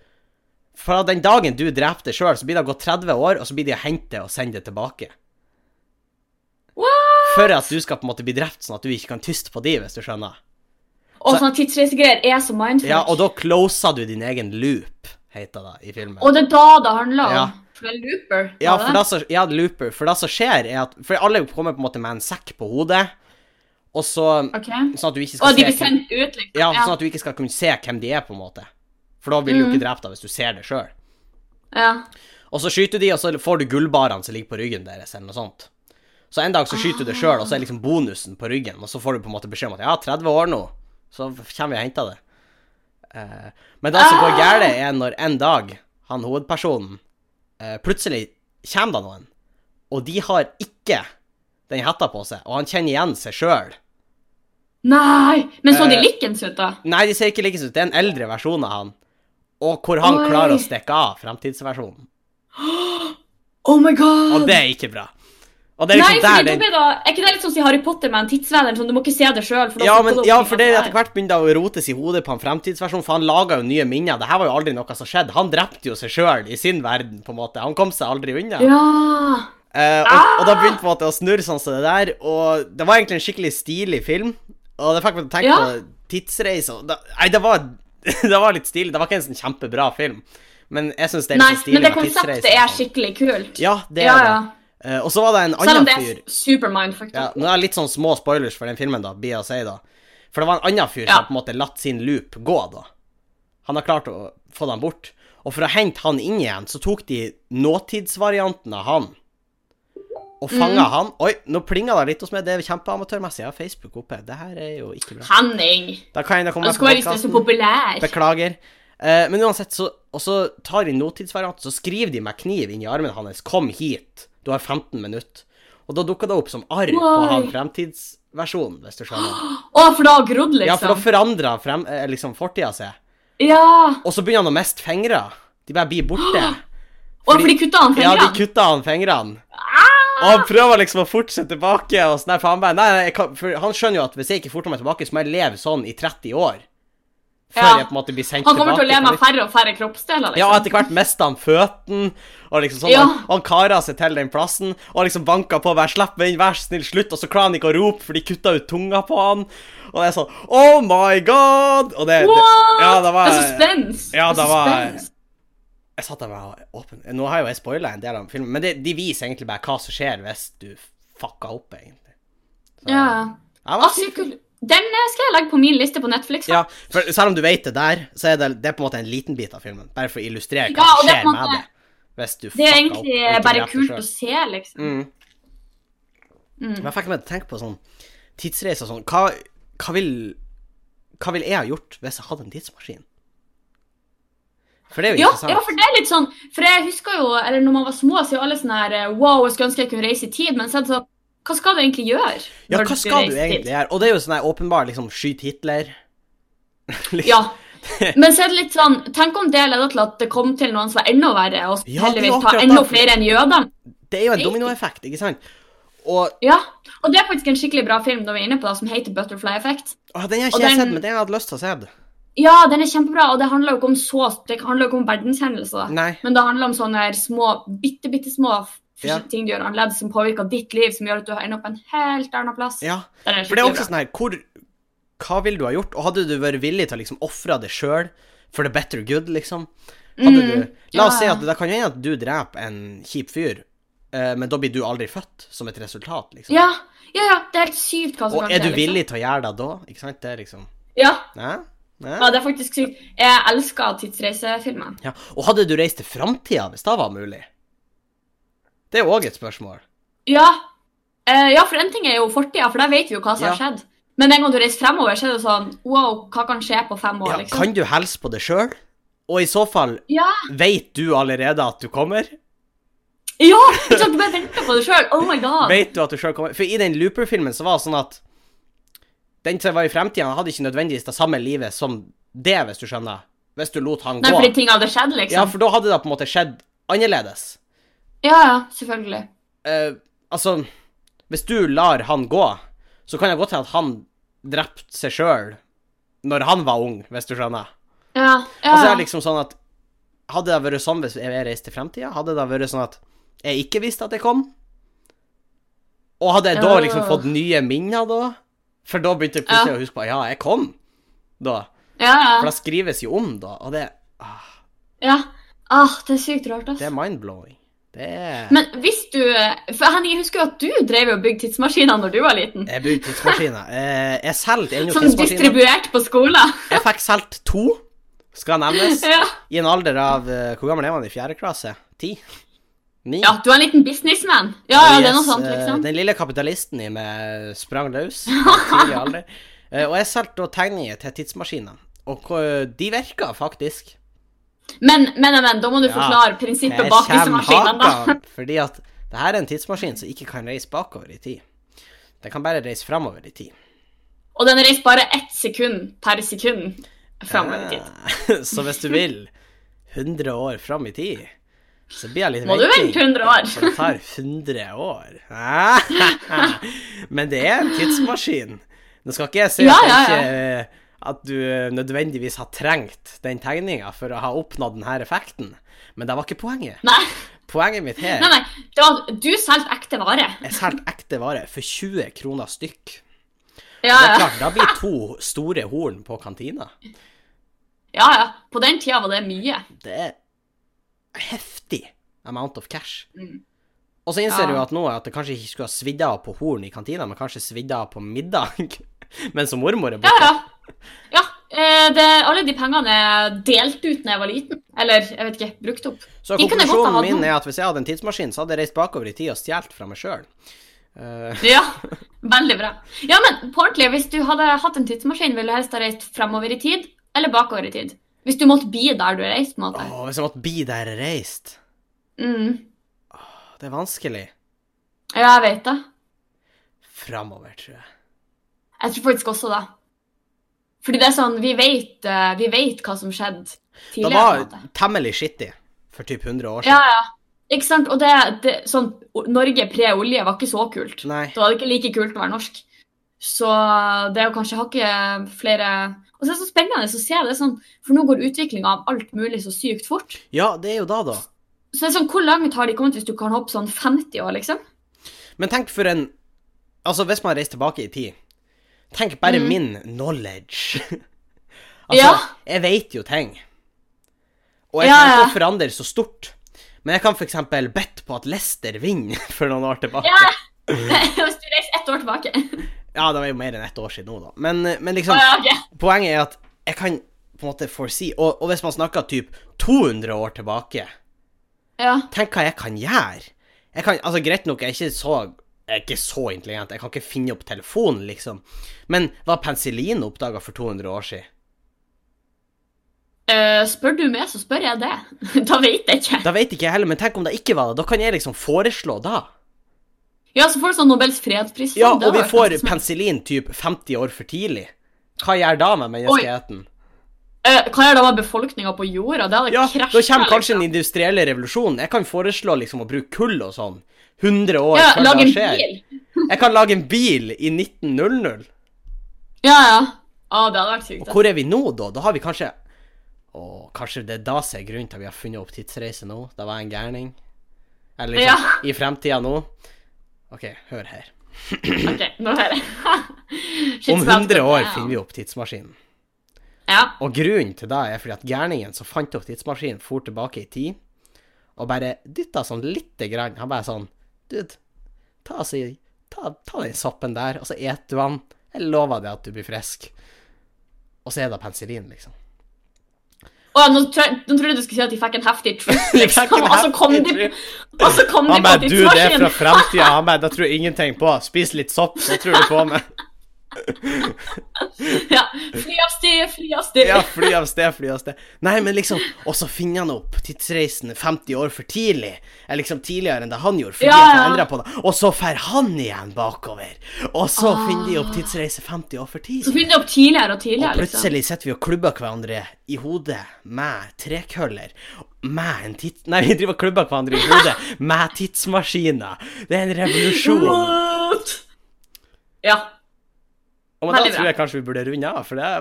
[SPEAKER 2] Fra den dagen du drepte sjøl, så blir det gått 30 år, og så blir de å hente og sende det tilbake.
[SPEAKER 1] What?
[SPEAKER 2] For at du skal på en måte bli drept, sånn at du ikke kan tyste på de, hvis du skjønner.
[SPEAKER 1] Og sånne tidsreisegreier er så mindfuck.
[SPEAKER 2] Ja, Og da closer du din egen loop, heter det i filmen.
[SPEAKER 1] Og det er da det handler om.
[SPEAKER 2] Ja.
[SPEAKER 1] For det er Looper.
[SPEAKER 2] Ja,
[SPEAKER 1] var
[SPEAKER 2] for det som, ja, Looper. For det som skjer, er at For alle kommer på en måte med en sekk på hodet, og så
[SPEAKER 1] Ok.
[SPEAKER 2] Sånn at du ikke skal
[SPEAKER 1] Og de blir
[SPEAKER 2] se hvem,
[SPEAKER 1] sendt ut, liksom.
[SPEAKER 2] Ja, sånn at du ikke skal kunne se hvem de er, på en måte. For da vil du jo ikke drepe deg hvis du ser det sjøl.
[SPEAKER 1] ja.
[SPEAKER 2] Og så skyter de, og så får du gullbarene som ligger på ryggen deres, eller noe sånt. Så en dag så skyter du det sjøl, og så er liksom bonusen på ryggen, og så får du på en måte beskjed om at ja, 30 år nå, så kommer vi og henter det. Eh, men det som går galt, er når en dag han hovedpersonen eh, Plutselig kommer det noen, og de har ikke den hetta på seg, og han kjenner igjen seg sjøl.
[SPEAKER 1] Nei! Men så de
[SPEAKER 2] Eh,
[SPEAKER 1] likens ut, da?
[SPEAKER 2] Nei, de ser ikke like ut, det er en eldre versjon av han, og hvor han
[SPEAKER 1] Oi.
[SPEAKER 2] klarer å stikke av fremtidsversjonen.
[SPEAKER 1] Oh my god!
[SPEAKER 2] Og det er ikke bra. Og det er
[SPEAKER 1] Nei,
[SPEAKER 2] liksom
[SPEAKER 1] fordi
[SPEAKER 2] der
[SPEAKER 1] da
[SPEAKER 2] den
[SPEAKER 1] blir da, er ikke det litt sånn som i Harry Potter med en tidsvenner? Sånn, du må ikke se det sjøl.
[SPEAKER 2] Ja, men, ja, for det etter hvert begynner det å rotes i hodet på en fremtidsversjon, for han laga jo nye minner. Det her var jo aldri noe som skjedde. Han drepte jo seg sjøl i sin verden, på en måte. Han kom seg aldri unna.
[SPEAKER 1] Ja. Ah!
[SPEAKER 2] Eh, og, og da begynte på en måte å snurre sånn som det der, og det var egentlig en skikkelig stilig film. Og det fikk meg til å tenke
[SPEAKER 1] Ja.
[SPEAKER 2] på tidsreise og da- Nei, det var, det var litt stilig. Det var ikke en sånn kjempebra film, men jeg syns det er
[SPEAKER 1] Nei,
[SPEAKER 2] litt så stilig
[SPEAKER 1] men det
[SPEAKER 2] med
[SPEAKER 1] konseptet
[SPEAKER 2] tidsreise og
[SPEAKER 1] er
[SPEAKER 2] sånn.
[SPEAKER 1] skikkelig kult.
[SPEAKER 2] Ja, det er
[SPEAKER 1] Ja,
[SPEAKER 2] det.
[SPEAKER 1] ja.
[SPEAKER 2] Eh, og så var det en
[SPEAKER 1] Selv om
[SPEAKER 2] annen
[SPEAKER 1] det
[SPEAKER 2] fyr
[SPEAKER 1] er supermind, faktisk.
[SPEAKER 2] Ja, nå er det litt sånn små spoilers for den filmen, da, blir jeg å si, da. For det var en annen fyr
[SPEAKER 1] Ja.
[SPEAKER 2] som på en måte latt sin loop gå, da. Han har klart å få den bort. Og for å hente han inn igjen, så tok de nåtidsvarianten av han. Og fanga
[SPEAKER 1] Mhm.
[SPEAKER 2] han Oi, nå plinga det litt hos meg. Det er kjempeamatørmessig. Jeg har Facebook oppe. Det her er jo ikke bra.
[SPEAKER 1] Henning!
[SPEAKER 2] Da kan jeg da komme
[SPEAKER 1] Han
[SPEAKER 2] meg
[SPEAKER 1] skulle være liksom så
[SPEAKER 2] podcasten.
[SPEAKER 1] populær.
[SPEAKER 2] Beklager. Eh, men uansett, så, og så tar de nåtidsvarianten, så skriver de med kniv inn i armen hans 'Kom hit', du har 15 minutter. Og da dukker det opp som arr på
[SPEAKER 1] Why?
[SPEAKER 2] han fremtidsversjonen, hvis du skjønner.
[SPEAKER 1] Å, for da har grodd,
[SPEAKER 2] Ja, for da
[SPEAKER 1] liksom.
[SPEAKER 2] forandrer frem, eh, liksom fortida seg.
[SPEAKER 1] Ja.
[SPEAKER 2] Og så begynner han å miste fingre. De bare blir borte.
[SPEAKER 1] Å, for de kutta han
[SPEAKER 2] Ja, de
[SPEAKER 1] fingrene. Ah!
[SPEAKER 2] kutta han fingrene. Og han prøver liksom å fortsette tilbake, og sånn der, for han bare Nei, nei, jeg kan, for han skjønner jo at hvis jeg ikke forter meg tilbake, så må jeg leve sånn i 30 år. Før
[SPEAKER 1] Ja.
[SPEAKER 2] jeg på en måte blir sendt
[SPEAKER 1] Han kommer til å
[SPEAKER 2] tilbake
[SPEAKER 1] leve
[SPEAKER 2] på
[SPEAKER 1] med færre og færre kroppsdeler,
[SPEAKER 2] Ja,
[SPEAKER 1] liksom.
[SPEAKER 2] og etter hvert mista han føttene, og liksom sånn,
[SPEAKER 1] Ja.
[SPEAKER 2] han, han kara seg til den plassen, og liksom banka på, vær slipp meg inn, vær så snill, slutt, og så klarer han ikke å rope, for de kutta ut tunga på han, og det er sånn, oh my god, og det, det
[SPEAKER 1] What?!
[SPEAKER 2] ja, det var,
[SPEAKER 1] er suspens.
[SPEAKER 2] Ja, det
[SPEAKER 1] er
[SPEAKER 2] var-
[SPEAKER 1] suspens.
[SPEAKER 2] jeg satt der med åpen, nå har jo jeg spoilet en del av filmen, men det, de viser egentlig bare hva som skjer hvis du fucka opp, egentlig. Så- Ja,
[SPEAKER 1] Ja.
[SPEAKER 2] det var
[SPEAKER 1] Ah, sykt kult. Den eh, skal jeg legge på min liste på Netflix.
[SPEAKER 2] Ja, for selv om du vet det der, så er det, det er på en måte en liten bit av filmen, bare for å illustrere hva
[SPEAKER 1] Ja, og
[SPEAKER 2] som
[SPEAKER 1] det er
[SPEAKER 2] skjer
[SPEAKER 1] på en
[SPEAKER 2] med
[SPEAKER 1] måte-
[SPEAKER 2] det. Hvis du
[SPEAKER 1] Det
[SPEAKER 2] fucka
[SPEAKER 1] er
[SPEAKER 2] opp
[SPEAKER 1] egentlig
[SPEAKER 2] og ikke
[SPEAKER 1] bare
[SPEAKER 2] drepte
[SPEAKER 1] kult
[SPEAKER 2] selv.
[SPEAKER 1] å se, liksom.
[SPEAKER 2] Mm. Men jeg fikk meg til å tenke på sånn tidsreiser og sånn. Hva, hva, vil, hva vil jeg ha gjort hvis jeg hadde en tidsmaskin? For det er jo
[SPEAKER 1] Ja,
[SPEAKER 2] interessant.
[SPEAKER 1] ja, for det er litt sånn For jeg husker jo, eller når man var små, så er jo alle sånn her eh, Wow, jeg skulle ønske jeg kunne reise i tid, men så er det sånn Hva skal du egentlig gjøre?
[SPEAKER 2] Ja,
[SPEAKER 1] når
[SPEAKER 2] hva skal du
[SPEAKER 1] reiser i tid?
[SPEAKER 2] egentlig gjøre? Og det er jo sånn her åpenbar liksom skyt Hitler. liksom.
[SPEAKER 1] Ja. Men så er det litt sånn Tenk om det leder til at det kom til noen som var enda verre, og som
[SPEAKER 2] Ja, det er
[SPEAKER 1] heldigvis
[SPEAKER 2] akkurat
[SPEAKER 1] tar enda
[SPEAKER 2] derfor.
[SPEAKER 1] flere enn jødene.
[SPEAKER 2] Det er jo en
[SPEAKER 1] Riktig.
[SPEAKER 2] dominoeffekt, ikke sant? Og
[SPEAKER 1] Ja, og det er faktisk en skikkelig bra film når vi er inne på det, som heter Butterfly Effect.
[SPEAKER 2] å, den har
[SPEAKER 1] Og
[SPEAKER 2] ikke jeg
[SPEAKER 1] den-
[SPEAKER 2] sett, men den har jeg hatt lyst til å se.
[SPEAKER 1] Ja, den er kjempebra, og det handler jo ikke om så, det handler jo ikke om verdenshendelser.
[SPEAKER 2] Nei.
[SPEAKER 1] Men det handler om sånne her små, bitte, bitte små f-
[SPEAKER 2] Ja.
[SPEAKER 1] ting du gjør annerledes som påvirker ditt liv, som gjør at du ender opp en helt annen plass.
[SPEAKER 2] Ja.
[SPEAKER 1] Den er
[SPEAKER 2] For det er
[SPEAKER 1] skikkelig
[SPEAKER 2] også
[SPEAKER 1] bra.
[SPEAKER 2] sånn her hvor, Hva ville du ha gjort? Og hadde du vært villig til å liksom ofre det sjøl for the better good, liksom? Hadde
[SPEAKER 1] Mm,
[SPEAKER 2] du La oss si
[SPEAKER 1] ja.
[SPEAKER 2] at det kan jo hende at du dreper en kjip fyr, eh, men da blir du aldri født som et resultat, liksom.
[SPEAKER 1] Ja, ja, ja, det liksom er helt sykt hva som
[SPEAKER 2] Og
[SPEAKER 1] kan
[SPEAKER 2] er
[SPEAKER 1] skje.
[SPEAKER 2] du villig til å gjøre det da? Ikke sant? Det er liksom
[SPEAKER 1] Liksom. Ja,
[SPEAKER 2] Nei? Nei?
[SPEAKER 1] ja, det er faktisk sykt. Jeg elsker tidsreisefilmer.
[SPEAKER 2] Ja. Og hadde du reist til framtida hvis det var mulig? Det er jo òg et spørsmål.
[SPEAKER 1] Ja. Eh, ja, for en ting er jo fortida, for da vet vi jo hva som har
[SPEAKER 2] Ja.
[SPEAKER 1] skjedd. Men en gang du reiser fremover, så er det jo sånn Wow, hva kan skje på fem år,
[SPEAKER 2] Ja,
[SPEAKER 1] liksom?
[SPEAKER 2] kan du hilse på det sjøl? Og i så fall,
[SPEAKER 1] Ja!
[SPEAKER 2] veit du allerede at du kommer?
[SPEAKER 1] ja ikke sant? Du bare venter på det sjøl. Oh my god.
[SPEAKER 2] Vet du at du selv kommer For i den Looper-filmen så var det sånn at den som var i fremtiden, hadde ikke nødvendigvis det samme livet som det, hvis du skjønner. Hvis du lot han
[SPEAKER 1] Nei,
[SPEAKER 2] gå.
[SPEAKER 1] fordi ting hadde skjedd,
[SPEAKER 2] Ja,
[SPEAKER 1] liksom.
[SPEAKER 2] for da hadde det på en måte skjedd annerledes.
[SPEAKER 1] Ja, ja, selvfølgelig.
[SPEAKER 2] Eh, altså, hvis du lar han gå, så kan det godt hende at han drepte seg sjøl når han var ung, hvis du skjønner.
[SPEAKER 1] Ja, ja.
[SPEAKER 2] Og så er det liksom sånn at Hadde det vært sånn hvis jeg reiste til fremtida? Hadde det vært sånn at jeg ikke visste at jeg kom? Og hadde jeg da
[SPEAKER 1] Ja.
[SPEAKER 2] liksom fått nye minner da? For da begynte jeg plutselig å huske på Ja, jeg kom da. liksom-
[SPEAKER 1] ja,
[SPEAKER 2] For
[SPEAKER 1] ja.
[SPEAKER 2] det skrives jo om da, og det, ah,
[SPEAKER 1] ja. Ah, det er sykt rart, ass.
[SPEAKER 2] det er mind-blowing. Det er
[SPEAKER 1] Men hvis du For Henning, jeg husker jo at du drev og bygde tidsmaskiner når du var liten.
[SPEAKER 2] Jeg bygde tidsmaskiner. Eh, Jeg solgte ennå
[SPEAKER 1] Sånn
[SPEAKER 2] tidsmaskiner.
[SPEAKER 1] distribuert på skolen.
[SPEAKER 2] Jeg fikk solgt to, skal nevnes,
[SPEAKER 1] Ja.
[SPEAKER 2] i en alder av eh, Hvor gammel er man i fjerde klasse? Ti? Ni?
[SPEAKER 1] ja, du er en liten businessman. Ja, ja, det er noe
[SPEAKER 2] Yes,
[SPEAKER 1] sånt,
[SPEAKER 2] eh,
[SPEAKER 1] liksom.
[SPEAKER 2] Den lille kapitalisten i meg sprang løs i tidlig alder. Eh, Og jeg solgte da tegninger til tidsmaskiner. Og hvor- de virka faktisk.
[SPEAKER 1] Men, men, men, da må du
[SPEAKER 2] Ja.
[SPEAKER 1] forklare prinsippet bak disse maskinene, da.
[SPEAKER 2] hakan, fordi at det her er en tidsmaskin som ikke kan reise bakover i tid. Den kan bare reise framover i tid.
[SPEAKER 1] Og den reiser bare ett sekund per sekund framover i tid.
[SPEAKER 2] Eh, Så hvis du vil 100 år fram i tid, så blir jeg litt
[SPEAKER 1] Må du vente 100
[SPEAKER 2] For det
[SPEAKER 1] år?
[SPEAKER 2] tar 100 år. Ah, Men det er en tidsmaskin. Nå skal ikke jeg si
[SPEAKER 1] Ja,
[SPEAKER 2] at,
[SPEAKER 1] ja,
[SPEAKER 2] jeg ikke, at du nødvendigvis har trengt den tegninga for å ha oppnådd denne effekten, men det var ikke poenget.
[SPEAKER 1] Nei,
[SPEAKER 2] Poenget mitt her
[SPEAKER 1] nei, nei. Det var at du solgte ekte vare.
[SPEAKER 2] er solgt ekte vare for 20 kroner stykk.
[SPEAKER 1] Ja,
[SPEAKER 2] Det er
[SPEAKER 1] ja.
[SPEAKER 2] klart, Da blir to store horn på kantina.
[SPEAKER 1] ja, ja. På den tida var det mye.
[SPEAKER 2] Det er heftig amount of cash.
[SPEAKER 1] Mm.
[SPEAKER 2] Og så innser
[SPEAKER 1] Ja.
[SPEAKER 2] du jo at nå at det kanskje ikke skulle ha svidd av på horn i kantina, men kanskje svidd av på middag. Mens mormor er
[SPEAKER 1] Ja,
[SPEAKER 2] borte.
[SPEAKER 1] ja. Ja, eh, det, Alle de pengene er delt ut da jeg var liten. Eller jeg vet ikke, brukt opp.
[SPEAKER 2] Så
[SPEAKER 1] de kunne jeg godt ha
[SPEAKER 2] konklusjonen
[SPEAKER 1] hatt
[SPEAKER 2] min
[SPEAKER 1] nå.
[SPEAKER 2] er at hvis jeg hadde en tidsmaskin, så hadde jeg reist bakover i tid og stjålet fra meg Eh, sjøl.
[SPEAKER 1] Ja, veldig bra. Ja, men på ordentlig, hvis du hadde hatt en tidsmaskin, ville du helst ha reist fremover i tid eller bakover i tid? Hvis du måtte bli der du reiste, på en måte.
[SPEAKER 2] Åh, hvis jeg måtte bli der jeg reist.
[SPEAKER 1] Mm.
[SPEAKER 2] Det er vanskelig.
[SPEAKER 1] Ja, jeg vet det.
[SPEAKER 2] Framover, tror jeg.
[SPEAKER 1] Jeg tror faktisk også det. Fordi det er sånn, vi vet, eh, vi vet hva som skjedde
[SPEAKER 2] Det
[SPEAKER 1] tidligere.
[SPEAKER 2] var
[SPEAKER 1] på en måte.
[SPEAKER 2] temmelig skittig for typ 100 år
[SPEAKER 1] Ja,
[SPEAKER 2] siden.
[SPEAKER 1] ja. Ikke sant? Og det, det sånn, o- Norge pre-olje var ikke så kult.
[SPEAKER 2] Nei.
[SPEAKER 1] Da var det ikke like kult å være norsk. Så det er jo kanskje hakket flere Og så er det så spennende å se det sånn, for nå går utviklinga av alt mulig så sykt fort.
[SPEAKER 2] Ja, det er jo da, da.
[SPEAKER 1] Så det er sånn, Hvor langt har de kommet hvis du kan hoppe sånn 50 år, liksom?
[SPEAKER 2] Men tenk for en Altså, hvis man reiser tilbake i tid Tenk bare
[SPEAKER 1] Mhm.
[SPEAKER 2] min knowledge. altså,
[SPEAKER 1] Ja.
[SPEAKER 2] jeg vet jo ting. Og jeg
[SPEAKER 1] Ja,
[SPEAKER 2] kan
[SPEAKER 1] ja.
[SPEAKER 2] ikke forandre så stort. Men jeg kan f.eks. bedt på at Lester vinner for noen år tilbake.
[SPEAKER 1] Ja. hvis du reiser ett år tilbake.
[SPEAKER 2] Ja, det var jo mer enn ett år siden nå, da. Men, men
[SPEAKER 1] Å,
[SPEAKER 2] liksom,
[SPEAKER 1] ja, ok.
[SPEAKER 2] poenget er at jeg kan på en måte foresee og, og hvis man snakker typ 200 år tilbake,
[SPEAKER 1] ja.
[SPEAKER 2] tenk hva jeg kan gjøre. Jeg kan, altså Greit nok, jeg er ikke så jeg er ikke så intelligent, jeg kan ikke finne opp telefonen, liksom. Men var penicillin oppdaga for 200 år siden?
[SPEAKER 1] Eh, spør du meg, så spør jeg det. da vet jeg ikke.
[SPEAKER 2] Da vet ikke jeg heller, men tenk om det ikke var det. Da kan jeg liksom foreslå da.
[SPEAKER 1] Ja, så får du sånn Nobels fredspris.
[SPEAKER 2] Ja,
[SPEAKER 1] Det
[SPEAKER 2] og vi
[SPEAKER 1] var
[SPEAKER 2] får
[SPEAKER 1] faktisk-
[SPEAKER 2] penicillin typ 50 år for tidlig. Hva gjør da med menneskeheten?
[SPEAKER 1] Eh, Hva gjør det med befolkninga på jorda? Det hadde
[SPEAKER 2] Ja, da
[SPEAKER 1] krasjet,
[SPEAKER 2] kommer kanskje
[SPEAKER 1] liksom.
[SPEAKER 2] den industrielle revolusjonen. Jeg kan foreslå liksom å bruke kull og sånn. 100 år
[SPEAKER 1] ja,
[SPEAKER 2] før
[SPEAKER 1] Lag
[SPEAKER 2] det
[SPEAKER 1] en
[SPEAKER 2] skjer.
[SPEAKER 1] bil.
[SPEAKER 2] Jeg kan lage en bil i 1900.
[SPEAKER 1] Ja, ja. Å, det hadde vært sykt.
[SPEAKER 2] Og hvor er vi nå, da? Da har vi kanskje Å, kanskje det er da som er grunnen til at vi har funnet opp tidsreise nå? Da var jeg en gærning? Eller liksom, i fremtida nå? OK, hør her.
[SPEAKER 1] altså. Ok, nå hører jeg.
[SPEAKER 2] Om 100 år finner vi opp tidsmaskinen.
[SPEAKER 1] Ja.
[SPEAKER 2] Og grunnen til det er fordi at gærningen som fant opp tidsmaskinen, for tilbake i tid og bare dytta sånn lite grann. Han bare sånn Dude, ta, si, ta, ta den soppen der, og så et du han. Jeg lover deg at du blir frisk. Og så er det penicillin, liksom.
[SPEAKER 1] Å, nå, tror jeg- nå trodde jeg du skulle si at de fikk en heftig trip,
[SPEAKER 2] De
[SPEAKER 1] liksom.
[SPEAKER 2] fikk en
[SPEAKER 1] Og så kom
[SPEAKER 2] heftig
[SPEAKER 1] de,
[SPEAKER 2] trip.
[SPEAKER 1] og så kom de
[SPEAKER 2] Han
[SPEAKER 1] på
[SPEAKER 2] bare Du, det er fra
[SPEAKER 1] tidsmaskinen.
[SPEAKER 2] fremtida. Han bare Det tror jeg ingenting på. Spis litt sopp, så tror du på meg.
[SPEAKER 1] Ja. Fly av sted, fly av sted.
[SPEAKER 2] Ja, fly av sted, fly av sted. Nei, men liksom Og så finner han opp tidsreisen 50 år for tidlig. Eller liksom tidligere enn det han gjorde, fordi
[SPEAKER 1] Ja,
[SPEAKER 2] at han
[SPEAKER 1] ja.
[SPEAKER 2] endret på det. Og så fer han igjen bakover. Og så finner de opp tidsreise 50 år for
[SPEAKER 1] Ah. Så
[SPEAKER 2] tidlig.
[SPEAKER 1] finner de opp tidligere og
[SPEAKER 2] Og
[SPEAKER 1] tidligere, liksom.
[SPEAKER 2] plutselig sitter vi og klubber hverandre i hodet med trekøller. Med en tids... Nei, vi driver og klubber hverandre i hodet med tidsmaskiner. Det er en revolusjon.
[SPEAKER 1] What? Ja.
[SPEAKER 2] Og men da
[SPEAKER 1] Veldig bra.
[SPEAKER 2] tror jeg kanskje vi burde runde av, for det er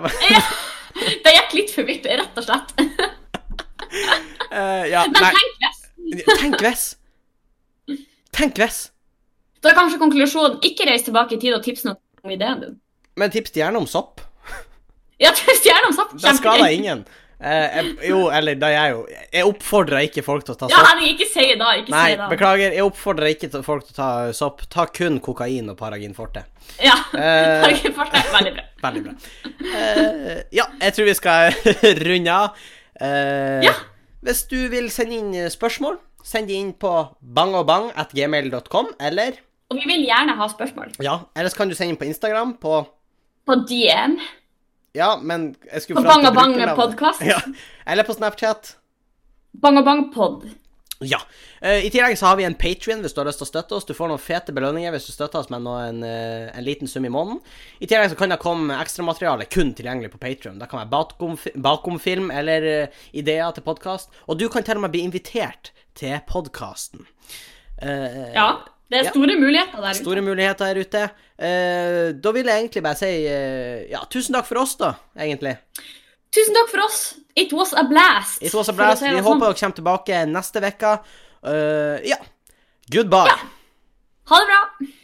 [SPEAKER 1] Det gikk litt for vidt, rett og slett.
[SPEAKER 2] Eh, Ja,
[SPEAKER 1] Men
[SPEAKER 2] nei.
[SPEAKER 1] tenk
[SPEAKER 2] Tenk
[SPEAKER 1] resten.
[SPEAKER 2] hvis. Tenk hvis.
[SPEAKER 1] Da er kanskje konklusjonen ikke reis tilbake i tid og tips noen om ideen din.
[SPEAKER 2] Men tips gjerne om sopp.
[SPEAKER 1] Ja, stjerne om sopp.
[SPEAKER 2] Da skader
[SPEAKER 1] kjempegøy.
[SPEAKER 2] ingen. Eh, jeg, jo, eller da jeg jo Jeg oppfordrer ikke folk til å ta
[SPEAKER 1] Ja,
[SPEAKER 2] sopp.
[SPEAKER 1] Henning, ikke si da. Ikke
[SPEAKER 2] Nei,
[SPEAKER 1] si da.
[SPEAKER 2] beklager. Jeg oppfordrer ikke til folk til å ta eh, sopp. Ta kun kokain og Paragin forte.
[SPEAKER 1] Ja.
[SPEAKER 2] Eh.
[SPEAKER 1] Takk for det. Veldig bra.
[SPEAKER 2] Veldig bra. Eh, ja, jeg tror vi skal runde av. Eh,
[SPEAKER 1] Ja.
[SPEAKER 2] Hvis du vil sende inn eh, spørsmål, send de inn på bangogbang.gmail.com, eller
[SPEAKER 1] Og vi vil gjerne ha spørsmål.
[SPEAKER 2] Ja, ellers kan du sende inn på Instagram på
[SPEAKER 1] På DM.
[SPEAKER 2] Ja, men jeg skulle
[SPEAKER 1] På
[SPEAKER 2] fram til
[SPEAKER 1] Bang og Bang
[SPEAKER 2] brukernavnet.
[SPEAKER 1] podcast.
[SPEAKER 2] Ja. Eller på Snapchat.
[SPEAKER 1] Bang og bang pod.
[SPEAKER 2] Ja. Eh, I tillegg så har vi en Patrion hvis du har lyst til å støtte oss. Du får noen fete belønninger hvis du støtter oss med noe, en, eh, en liten sum i måneden. I tillegg så kan det komme ekstramateriale kun tilgjengelig på Patrion. Det kan være bakomf- bakomfilm eller eh, ideer til podkast. Og du kan til og med bli invitert til podkasten.
[SPEAKER 1] Ja. Det er
[SPEAKER 2] Ja.
[SPEAKER 1] store muligheter der ute.
[SPEAKER 2] Store muligheter her ute. Eh, da vil jeg egentlig bare si eh, ja, tusen takk for oss, da, egentlig.
[SPEAKER 1] Tusen takk for oss. It was a blast.
[SPEAKER 2] It was a
[SPEAKER 1] for å
[SPEAKER 2] blast.
[SPEAKER 1] si det
[SPEAKER 2] Vi
[SPEAKER 1] sånn.
[SPEAKER 2] håper dere kommer tilbake neste uke. Eh, ja. Goodbye.
[SPEAKER 1] Ha det bra.